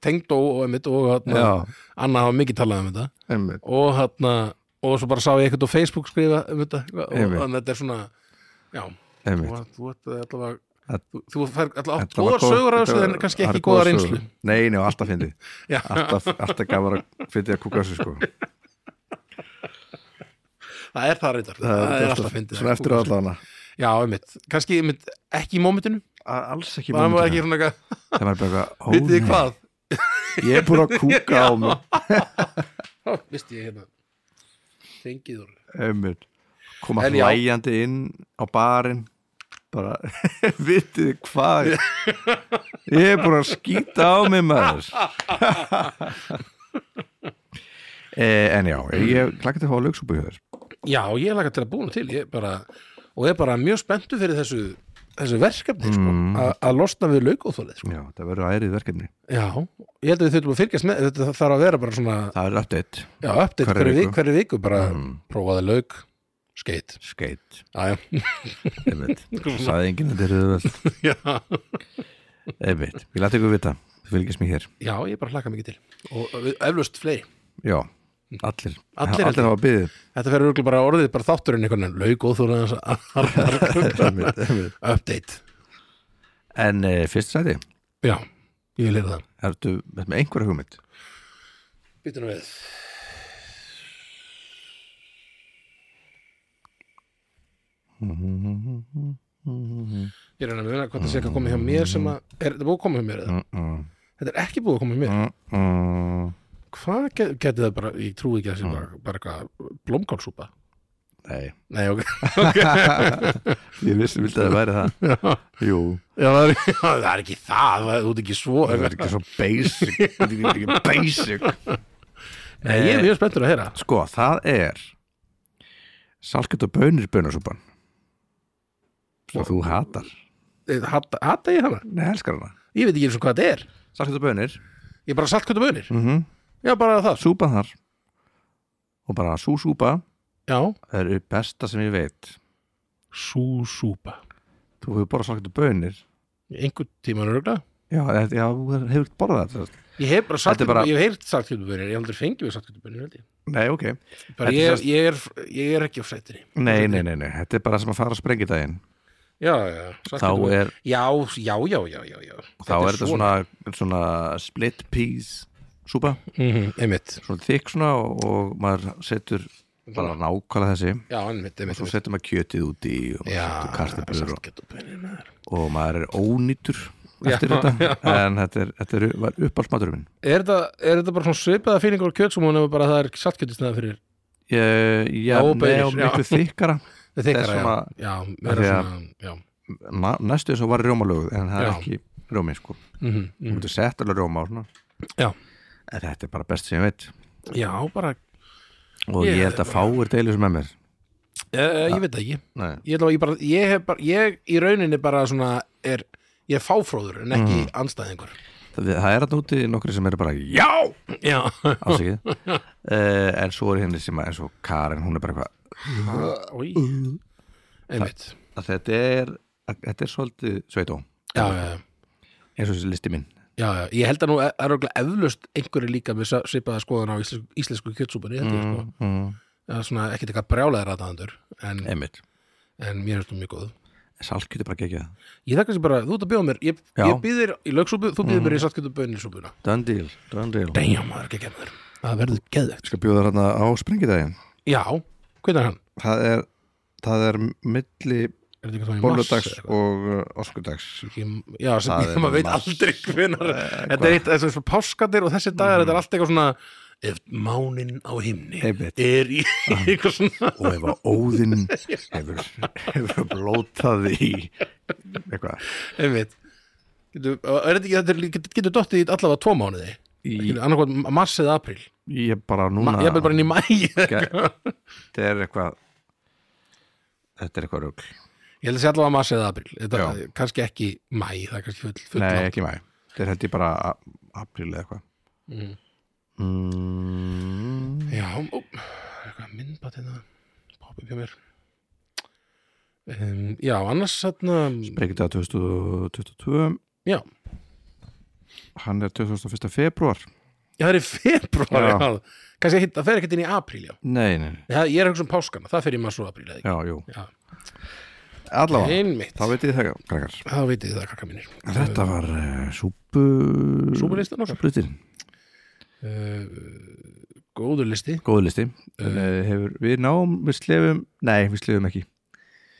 Speaker 2: tengdó og emitt og hérna,
Speaker 1: já,
Speaker 2: Anna hafa mikið talað um þetta
Speaker 1: einmitt
Speaker 2: og hérna og svo bara sá ég eitthvað á Facebook skrifa um þetta eitthvað, og
Speaker 1: Einmitt.
Speaker 2: þannig að þetta er svona já, þú
Speaker 1: einmitt
Speaker 2: ert- þú ert allavega
Speaker 1: Þetta-
Speaker 2: þú- þú fær allavega átt
Speaker 1: Þetta var
Speaker 2: góðar
Speaker 1: góð-
Speaker 2: sögur af
Speaker 1: þetta
Speaker 2: þessu
Speaker 1: var-
Speaker 2: en kannski
Speaker 1: það
Speaker 2: ekki
Speaker 1: eru
Speaker 2: góðar
Speaker 1: góðar
Speaker 2: reynslu
Speaker 1: sögur. Nei, nei, og alltaf fyndið
Speaker 2: já,
Speaker 1: alltaf, alltaf gafur að fyndið að kúka á sig sko
Speaker 2: það er það reyndar það, er alltaf fyndið
Speaker 1: Svona eftir á allana
Speaker 2: já, einmitt, kannski einmitt, ekki í mómentinu
Speaker 1: Alls ekki
Speaker 2: það var
Speaker 1: mómentinu.
Speaker 2: ekki svona eitthvað,
Speaker 1: Það var bara eitthvað, ó
Speaker 2: vitið þið
Speaker 1: nei,
Speaker 2: hvað
Speaker 1: ég er búin að kúka á mig
Speaker 2: Þá vissi ég hérna þengið úr
Speaker 1: Ömmur Koma
Speaker 2: En já.
Speaker 1: hlæjandi inn á barinn Bara, vitið þið hvað Ég er búin að skýta á mig maður eh, En já, ég klakka til að fá lögsúpu hjá þér
Speaker 2: já, ég laka til að búna til ég bara, og er bara mjög spenntu fyrir þessu þessu verkefni sko,
Speaker 1: Mm.
Speaker 2: að- að losna við laukóþólið sko.
Speaker 1: Já, það verður ærið verkefni
Speaker 2: Já, ég held að við þurfum að fyrkjast með þetta þarf að vera bara svona
Speaker 1: Það er update,
Speaker 2: já, update
Speaker 1: Hverri
Speaker 2: hverju
Speaker 1: viku.
Speaker 2: viku, hverju viku bara
Speaker 1: Mm.
Speaker 2: prófaði lauk, skeitt
Speaker 1: skeitt
Speaker 2: Já,
Speaker 1: Einmitt, sagði enginn að þetta er auðvöld
Speaker 2: já,
Speaker 1: Einmitt, ég læti ykkur vita, þið fylgjast mér hér
Speaker 2: já, ég bara hlaka mikið til og við- eflaust fleiri,
Speaker 1: Já, allir
Speaker 2: Allir,
Speaker 1: allir hafa byggðið
Speaker 2: þetta fer örugglega bara orðið bara þátturinn einhvern veginn, lauk og þúrðans
Speaker 1: Einmitt, einmitt.
Speaker 2: update,
Speaker 1: En e, fyrst sæti,
Speaker 2: já ég vil heyra það,
Speaker 1: ertu ertu með einhverja hugmynd?
Speaker 2: býtum við ég reyna að muna hvað það sé ekki að koma hjá mér sem að, er þetta búið að koma hjá mér eða? þetta er ekki búið að koma hjá mér
Speaker 1: Nei,
Speaker 2: hvað get, geti það bara, ég trúi ekki að það sé bara, bara eitthvað blómkálsúpa Nei, ok
Speaker 1: ég vissi vildi að það væri það Jú,
Speaker 2: já, það, er, já, það er ekki það, það er út ekki svo
Speaker 1: það er ekki svo basic Þetta er ekki basic
Speaker 2: Nei, ég er mjög spenntur að heyra
Speaker 1: Eh, Sko, það er Salkjöt og bönir bönasúpan Svo þú hatar
Speaker 2: Eh, hata, hata ég hana?
Speaker 1: Nei, elskar hana
Speaker 2: Ég veit ekki eins og hvað þetta er
Speaker 1: Salkjöt og bönir
Speaker 2: Ég er bara saltkvöldum önir
Speaker 1: mm
Speaker 2: Já, bara það
Speaker 1: Súpan þar Og bara sú súpa
Speaker 2: Já,
Speaker 1: Það er besta sem ég veit
Speaker 2: súsúpa
Speaker 1: Þú hefur borðað salkjöt og bönir
Speaker 2: Einhvern tímann örugla
Speaker 1: Já, þetta- já þú hefur ekki borðað þetta sem sagt.
Speaker 2: Ég hef bara
Speaker 1: Þetta er
Speaker 2: saltkvöldum
Speaker 1: bara-
Speaker 2: Ég hef heyrt saltkvöldum önir Ég hef aldrei fengið við saltkvöldum önir held ég.
Speaker 1: Nei, ok
Speaker 2: Bara
Speaker 1: Þetta er
Speaker 2: ég,
Speaker 1: sem-
Speaker 2: ég, er, ég er ekki á sættinni
Speaker 1: Nei, nei, nei, nei, þetta er bara sem að fara að sprengja daginn
Speaker 2: Já, já,
Speaker 1: Þá
Speaker 2: saltkjötbugur.
Speaker 1: er,
Speaker 2: Já, já, já, já, já, já
Speaker 1: þá er þetta svona, svona split piece súpa
Speaker 2: mm Einmitt
Speaker 1: Svona þykk svona og, og maður setur bara nákvæmlega þessi
Speaker 2: Já, einmitt, einmitt,
Speaker 1: Svo
Speaker 2: einmitt.
Speaker 1: setur maður kjötið út í og maður setur kartöflur og,
Speaker 2: saltkjötbugur, maður.
Speaker 1: og maður er ónýtur eftir
Speaker 2: Já,
Speaker 1: þetta En þetta, er, þetta er, var uppáhaldsmaturinn minn
Speaker 2: er þetta, er þetta bara svona svipaða fílingur á kjötsúmun ef bara það er saltkjötisnæða fyrir
Speaker 1: Ég, já,
Speaker 2: Já, og
Speaker 1: nei,
Speaker 2: baunir,
Speaker 1: og
Speaker 2: já.
Speaker 1: miklu þykkara
Speaker 2: það
Speaker 1: er
Speaker 2: þykara,
Speaker 1: svona-
Speaker 2: já, já, meira
Speaker 1: Af því að-
Speaker 2: svona já,
Speaker 1: Na- Næstu þess að var rjómalöguð en það er
Speaker 2: Já.
Speaker 1: ekki rjómi sko
Speaker 2: mm
Speaker 1: Þú
Speaker 2: -hmm,
Speaker 1: getur sett alveg rjóma á svona
Speaker 2: Já.
Speaker 1: En þetta er bara best sem ég veit
Speaker 2: já, bara
Speaker 1: Og
Speaker 2: Ég-
Speaker 1: ég held að fáir deilu sem er mér
Speaker 2: e, e, ég veit það ekki
Speaker 1: Nei,
Speaker 2: ég, ætla að ég, bara, ég, hef bara, ég í rauninni bara svona er, ég er fáfróður en
Speaker 1: Mhm.
Speaker 2: ekki anstæðingur
Speaker 1: það, það er að núti nokkri sem eru bara Já,
Speaker 2: já,
Speaker 1: ásækið uh, En svo er henni sem að eins og Karen Hún er bara eitthvað
Speaker 2: Í. einmitt
Speaker 1: að Þetta er, að, þetta er svolítið sveitó
Speaker 2: já, já, já,
Speaker 1: Eins og þessi listi minn
Speaker 2: já, já, ég held að nú er örgulega eflaust einhverju líka með sa- svipaða skoðan á íslensku, íslensku kjötsúpunni þetta er sko
Speaker 1: mm.
Speaker 2: Það er svona ekkert eitthvað brjálæðir aðdaðandur en,
Speaker 1: Einmitt
Speaker 2: en mér finnst þú mjög góð
Speaker 1: Salkjöt er bara gegja
Speaker 2: Ég þakka sér bara, þú ert að bjóða mér Ég,
Speaker 1: Já. Mhm.
Speaker 2: ég býð þér í lögsúpu, þú býðir mér í saltkjötu bönninsúpuna
Speaker 1: Done deal, done deal
Speaker 2: Deyja maður ekki að gera mér Það verður geðvegt
Speaker 1: Skal bjóða þarna á sprengidaginn
Speaker 2: já, hvernig er hann?
Speaker 1: það er, það er milli
Speaker 2: Er þetta ekki þá í mars?
Speaker 1: bóludags og uh, oskudags
Speaker 2: Ekki- Já, sem
Speaker 1: Það
Speaker 2: ég
Speaker 1: er
Speaker 2: maður veit
Speaker 1: mars. Eh,
Speaker 2: aldrei hvenar Þetta
Speaker 1: Hvað? Mhm.
Speaker 2: er eitt, þessi svo páskadir og þessi dagar, þetta er allt eitthvað svona Ef mánin á himni
Speaker 1: Einmitt.
Speaker 2: er í eitthvað svona
Speaker 1: og ef að óðinn hefur, hefur blótað í eitthvað
Speaker 2: einmitt Getur, er þetta ekki, þetta er- getur, getur dottið í allavega tvo mánuði
Speaker 1: í,
Speaker 2: annarkvæmt mars eða april
Speaker 1: ég bara núna
Speaker 2: ég er bara inn í mæ ég
Speaker 1: Ge- þetta er eitthvað þetta er eitthvað rugl
Speaker 2: held að sé allavega mars eða april þetta,
Speaker 1: Já.
Speaker 2: kannski ekki mæ, það er kannski full, full
Speaker 1: nei ekki mæ, þetta er held ég bara a- apríl eða eitthvað
Speaker 2: mm.
Speaker 1: mm,
Speaker 2: já, ó, eitthvað myndbætt hérna poppa upp hjá mér um, já, annars þarna
Speaker 1: breykið að 2022
Speaker 2: Já.
Speaker 1: hann er 21. februar
Speaker 2: já, það er í februar
Speaker 1: Já.
Speaker 2: já. kannski ekki, það fer ekkert inn í april já.
Speaker 1: nei, nei, nei.
Speaker 2: Það, ég er að hugsa um páskana, það fer í mars og april eða ekki
Speaker 1: já, jú
Speaker 2: Já.
Speaker 1: allavega,
Speaker 2: einmitt,
Speaker 1: þá veit ég það krakkar
Speaker 2: þá veit ég það kakka mínir
Speaker 1: þetta var uh, súpu
Speaker 2: Súpulistan okkar.
Speaker 1: súpulistin,
Speaker 2: uh, góður listi
Speaker 1: góðu listi uh, hefur, við náum, við slefum nei, við slefum ekki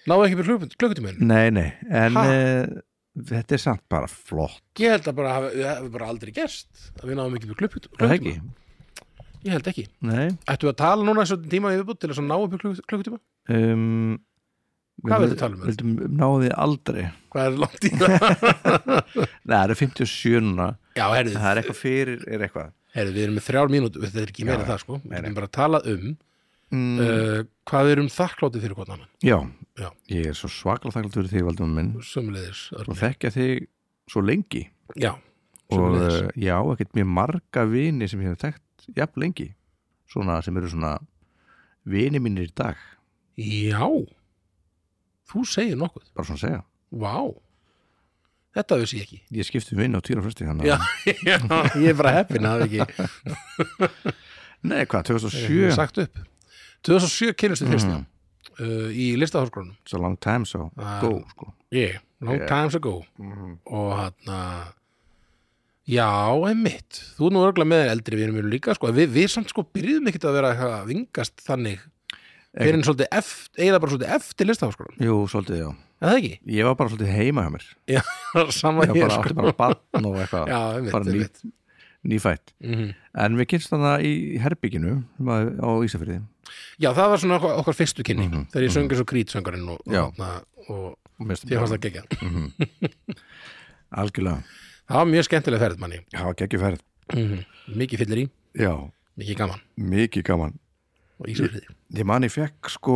Speaker 2: náðu ekki fyrir klukkutíminn
Speaker 1: nei, nei, en
Speaker 2: Ha?
Speaker 1: uh, þetta er samt bara flott
Speaker 2: ég held að bara hafi- það hafi bara aldrei gerst að við náðum ekki fyrir
Speaker 1: er það
Speaker 2: klukkutíma
Speaker 1: ekki?
Speaker 2: ég held ekki
Speaker 1: Nei
Speaker 2: ættu að tala núna þessu tíma yfirbútt til þess að ná upp í klukk- klukkutíma
Speaker 1: um,
Speaker 2: Hvað viltu tala um?
Speaker 1: Vildum náði aldrei
Speaker 2: hvað er langt í það
Speaker 1: Nei, það er 57 núna
Speaker 2: já, herðu,
Speaker 1: Það er eitthvað fyrir, er eitthvað
Speaker 2: herðu, við erum með þrjár mínútur þetta er ekki meira
Speaker 1: Já,
Speaker 2: það sko við
Speaker 1: nei, nei.
Speaker 2: erum bara að tala um
Speaker 1: mm,
Speaker 2: uh, hvað við erum þakklátið fyrir hvort annan
Speaker 1: Já,
Speaker 2: já.
Speaker 1: ég er svo svaklega þakklátt fyrir þig, Valdum minn
Speaker 2: sömulegðis
Speaker 1: og þekkja þig svo lengi
Speaker 2: já,
Speaker 1: og
Speaker 2: sömulegðis
Speaker 1: uh, já, ekkert mjög marga vini sem ég hef þekkt jafn lengi svona sem eru svona vini mínir í dag,
Speaker 2: já, þú segir nokkuð
Speaker 1: bara svona að segja
Speaker 2: vá, þetta vissi ég ekki
Speaker 1: Ég skipti vinn á týra fresti þannig
Speaker 2: Já,
Speaker 1: að-
Speaker 2: já, ég er bara heppin að það ekki
Speaker 1: Nei, hvað,
Speaker 2: Ég hef
Speaker 1: 2007
Speaker 2: sagt upp 2007 kynnstu fyrst
Speaker 1: Mm.
Speaker 2: uh, í listaháskólanum
Speaker 1: It's a long time so,
Speaker 2: Ah.
Speaker 1: go sko
Speaker 2: yeah, long
Speaker 1: Yeah.
Speaker 2: times ago
Speaker 1: mm.
Speaker 2: og hann já, einmitt þú er nú örgulega með eldri vinur mér líka sko. við, við samt sko byrjum ekkert að vera eitthvað að vingast þannig fyrir en svolítið eftir, eiginlega bara svolítið eftir listaháskólanum
Speaker 1: Jú, svolítið, já
Speaker 2: er það ekki?
Speaker 1: Ég var bara svolítið heima hjá mér
Speaker 2: Sama
Speaker 1: Ég var
Speaker 2: hér
Speaker 1: bara átti
Speaker 2: sko
Speaker 1: bara bann og eitthvað
Speaker 2: já, einmitt,
Speaker 1: bara ný,
Speaker 2: einmitt.
Speaker 1: nýfætt
Speaker 2: Mhm.
Speaker 1: En við kynst hana í herbygginu maður á Ísafyrði
Speaker 2: já, það var svona okkar, okkar fyrstu kynning
Speaker 1: Mhm,
Speaker 2: þegar ég söngi svo krítsöngarinn og,
Speaker 1: Já.
Speaker 2: og, þarna- og því fannst
Speaker 1: Algjörlega
Speaker 2: það gegja
Speaker 1: Það
Speaker 2: það var mjög skemmtileg ferð manni
Speaker 1: var geggjuferð
Speaker 2: mm mikið fyllir í,
Speaker 1: Já,
Speaker 2: mikið gaman
Speaker 1: mikið gaman
Speaker 2: og Ísafriði
Speaker 1: Ég man ég fekk sko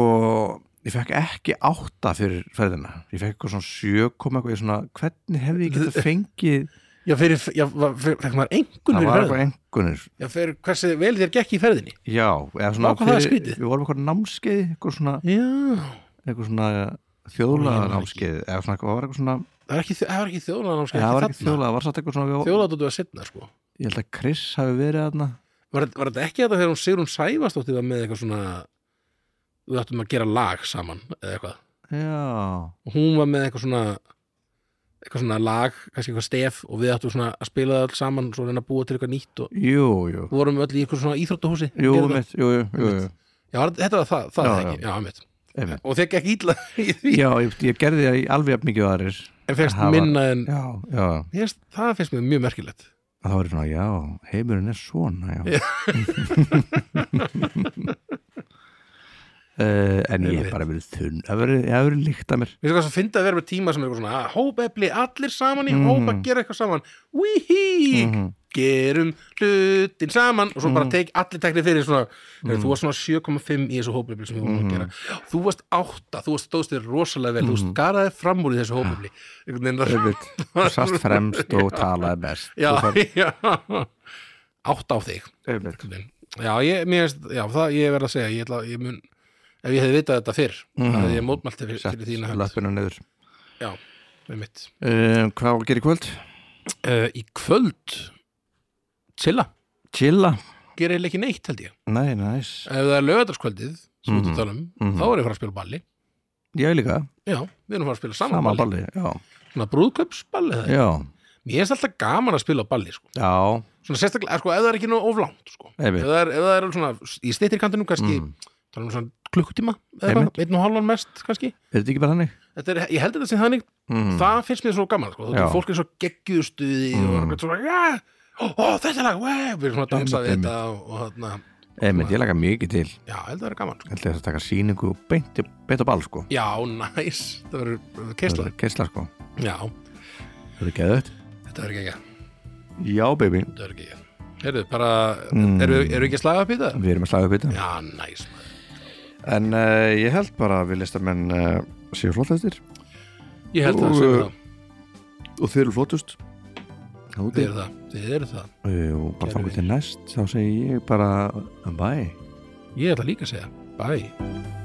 Speaker 1: Ég fekk ekki átta fyrir ferðina Ég fekk eitthvað svona sjö kom eitthvað ég svona, Hvernig hefði ég getað fengið
Speaker 2: Já, fyrir, já, var- fyrir, fekk maður
Speaker 1: Það
Speaker 2: engun fyrir
Speaker 1: var
Speaker 2: ferðin?
Speaker 1: eitthvað engunir
Speaker 2: Já, fyrir hversu vel þér gekk í ferðinni?
Speaker 1: Já, eða svona
Speaker 2: Vá, hvað það er skrítið.
Speaker 1: Við vorum eitthvað námskeið Eitthvað svona,
Speaker 2: Já,
Speaker 1: eitthvað svona
Speaker 2: Ég
Speaker 1: þjóðlega
Speaker 2: man ekki.
Speaker 1: námskeið Eða svona, það var eitthvað svona
Speaker 2: það var ekki, það var ekki þjóðlega
Speaker 1: Nei,
Speaker 2: námskeið
Speaker 1: það var
Speaker 2: ekki
Speaker 1: ekki
Speaker 2: þarna.
Speaker 1: þjóðlega, það var satt eitthvað svona við-
Speaker 2: Þjóðlega tóttu að setna, sko.
Speaker 1: Ég held að Chris hafi verið þarna
Speaker 2: Var, var þetta ekki þetta þegar hún Sigrun Sæfastótti var með eitthvað svona, við ættum að gera lag saman, eða eitthvað.
Speaker 1: Já,
Speaker 2: Og hún var með eitthvað svona, eitthvað svona lag, kannski eitthvað stef og við ættum svona að spila það alls saman, svo reyna að búa til eitthvað nýtt og
Speaker 1: jú, jú
Speaker 2: við vorum öll í eitthvað svona íþróttahúsi.
Speaker 1: Jú,
Speaker 2: Gerðu það.
Speaker 1: mitt, jú, jú, jú, jú.
Speaker 2: Já, var- þetta var það, það
Speaker 1: Já,
Speaker 2: já, ekki, já, mitt.
Speaker 1: Einmitt.
Speaker 2: Og þeir gekk ítla í því,
Speaker 1: Já, ég, ég gerði það í alveg jafn mikið og aðrir
Speaker 2: en fegst
Speaker 1: Það var-
Speaker 2: minna en,
Speaker 1: Já, já,
Speaker 2: Mér finnst- það finnst mér mjög merkilegt.
Speaker 1: það var ég svona, já, heimurinn er svona, já uh, En ég
Speaker 2: Einmitt.
Speaker 1: hef bara verið þunn Það hefur verið- það hefur verið líkt að mér
Speaker 2: Mér finnst það svo fyndið að vera með tíma sem er eitthvað svona að hópefli, allir saman í
Speaker 1: Mhm.
Speaker 2: hóp að gera eitthvað saman Wíhí, gerum hlutin saman og svo
Speaker 1: Mhm.
Speaker 2: bara teik, allir teknir fyrir svona mm. þú varst svona 7,5 í þessu hópefli sem við
Speaker 1: Mhm.
Speaker 2: vorum að gera þú varst 8, þú varst stóðst þér rosalega vel þú
Speaker 1: Mhm.
Speaker 2: varst garaði fram úr í þessu hópefli
Speaker 1: Ah.
Speaker 2: einhvern veginn
Speaker 1: Einmitt. Þú Sast fremst og talaði best
Speaker 2: já,
Speaker 1: Þú far-
Speaker 2: já 8 á þig
Speaker 1: Einmitt.
Speaker 2: já, ég, mér, finnst- já, það ég verð að segja ég, ætla, ég mun, ef ég hefði vitað þetta fyrr
Speaker 1: Mhm.
Speaker 2: mm. ég mótmælti fyrir,
Speaker 1: Sett
Speaker 2: fyrir þína hönd
Speaker 1: löppina niður
Speaker 2: já, með mitt
Speaker 1: um, Hvað á að gera í kvöld?
Speaker 2: uh, í kvöld chilla,
Speaker 1: Chilla
Speaker 2: gera eiginlega ekki neitt held ég
Speaker 1: Nei, næs
Speaker 2: ef það er lögataskvöldið sem við
Speaker 1: Mhm.
Speaker 2: þú tala um,
Speaker 1: Mhm.
Speaker 2: þá er ég fara að spila balli
Speaker 1: Ég líka,
Speaker 2: já, við erum fara að spila saman,
Speaker 1: sama
Speaker 2: balli,
Speaker 1: balli Já,
Speaker 2: svona brúðkaupsballi það er.
Speaker 1: já,
Speaker 2: mér finnst alltaf gaman að spila á balli sko. eh,
Speaker 1: já
Speaker 2: svona sérstaklega, sko, ef það er ekki nú oflánt sko. ef,
Speaker 1: Einmitt.
Speaker 2: það er, ef það er svona í stýttirkantinum kannski
Speaker 1: Mm.
Speaker 2: tala um svona klukkutíma eða
Speaker 1: Einmitt.
Speaker 2: eitthvað, einn og halvan mest kannski
Speaker 1: er þetta ekki bara þannig?
Speaker 2: Þetta er, ég held að þetta sé þannig,
Speaker 1: Mm.
Speaker 2: það finnst mér svo gaman sko. Þetta
Speaker 1: Já.
Speaker 2: er fólk er svo geggjustuði
Speaker 1: Mm.
Speaker 2: og eitthvað svona, já, ó, ó, þetta lag wey, við erum svona að dansa við
Speaker 1: Einmitt,
Speaker 2: þetta og, og þarna,
Speaker 1: Einmitt, ég laga mikið til
Speaker 2: já, ég held að það er gaman sko.
Speaker 1: held ég að taka sýningu og beint, beint á ball sko
Speaker 2: Já, næs, það verður keisla
Speaker 1: Kessla sko,
Speaker 2: Já,
Speaker 1: það er geðut
Speaker 2: þetta verður ekki ekki,
Speaker 1: Já baby,
Speaker 2: þetta verður ekki ekki Heyrðu, bara,
Speaker 1: Mm.
Speaker 2: erum við erum við ekki að slaga upp í þetta?
Speaker 1: við erum að slaga upp þetta
Speaker 2: Já, næs maður.
Speaker 1: En uh, ég held bara að við listamenn uh, séu flottestir
Speaker 2: Ég held að
Speaker 1: Og,
Speaker 2: það séu
Speaker 1: uh,
Speaker 2: það,
Speaker 1: Og þið eru flottust
Speaker 2: þið eru það, þið eru það
Speaker 1: Og bara
Speaker 2: Gerðu
Speaker 1: þangað til næst þá segi ég bara bye
Speaker 2: Ég ætla líka að segja, bye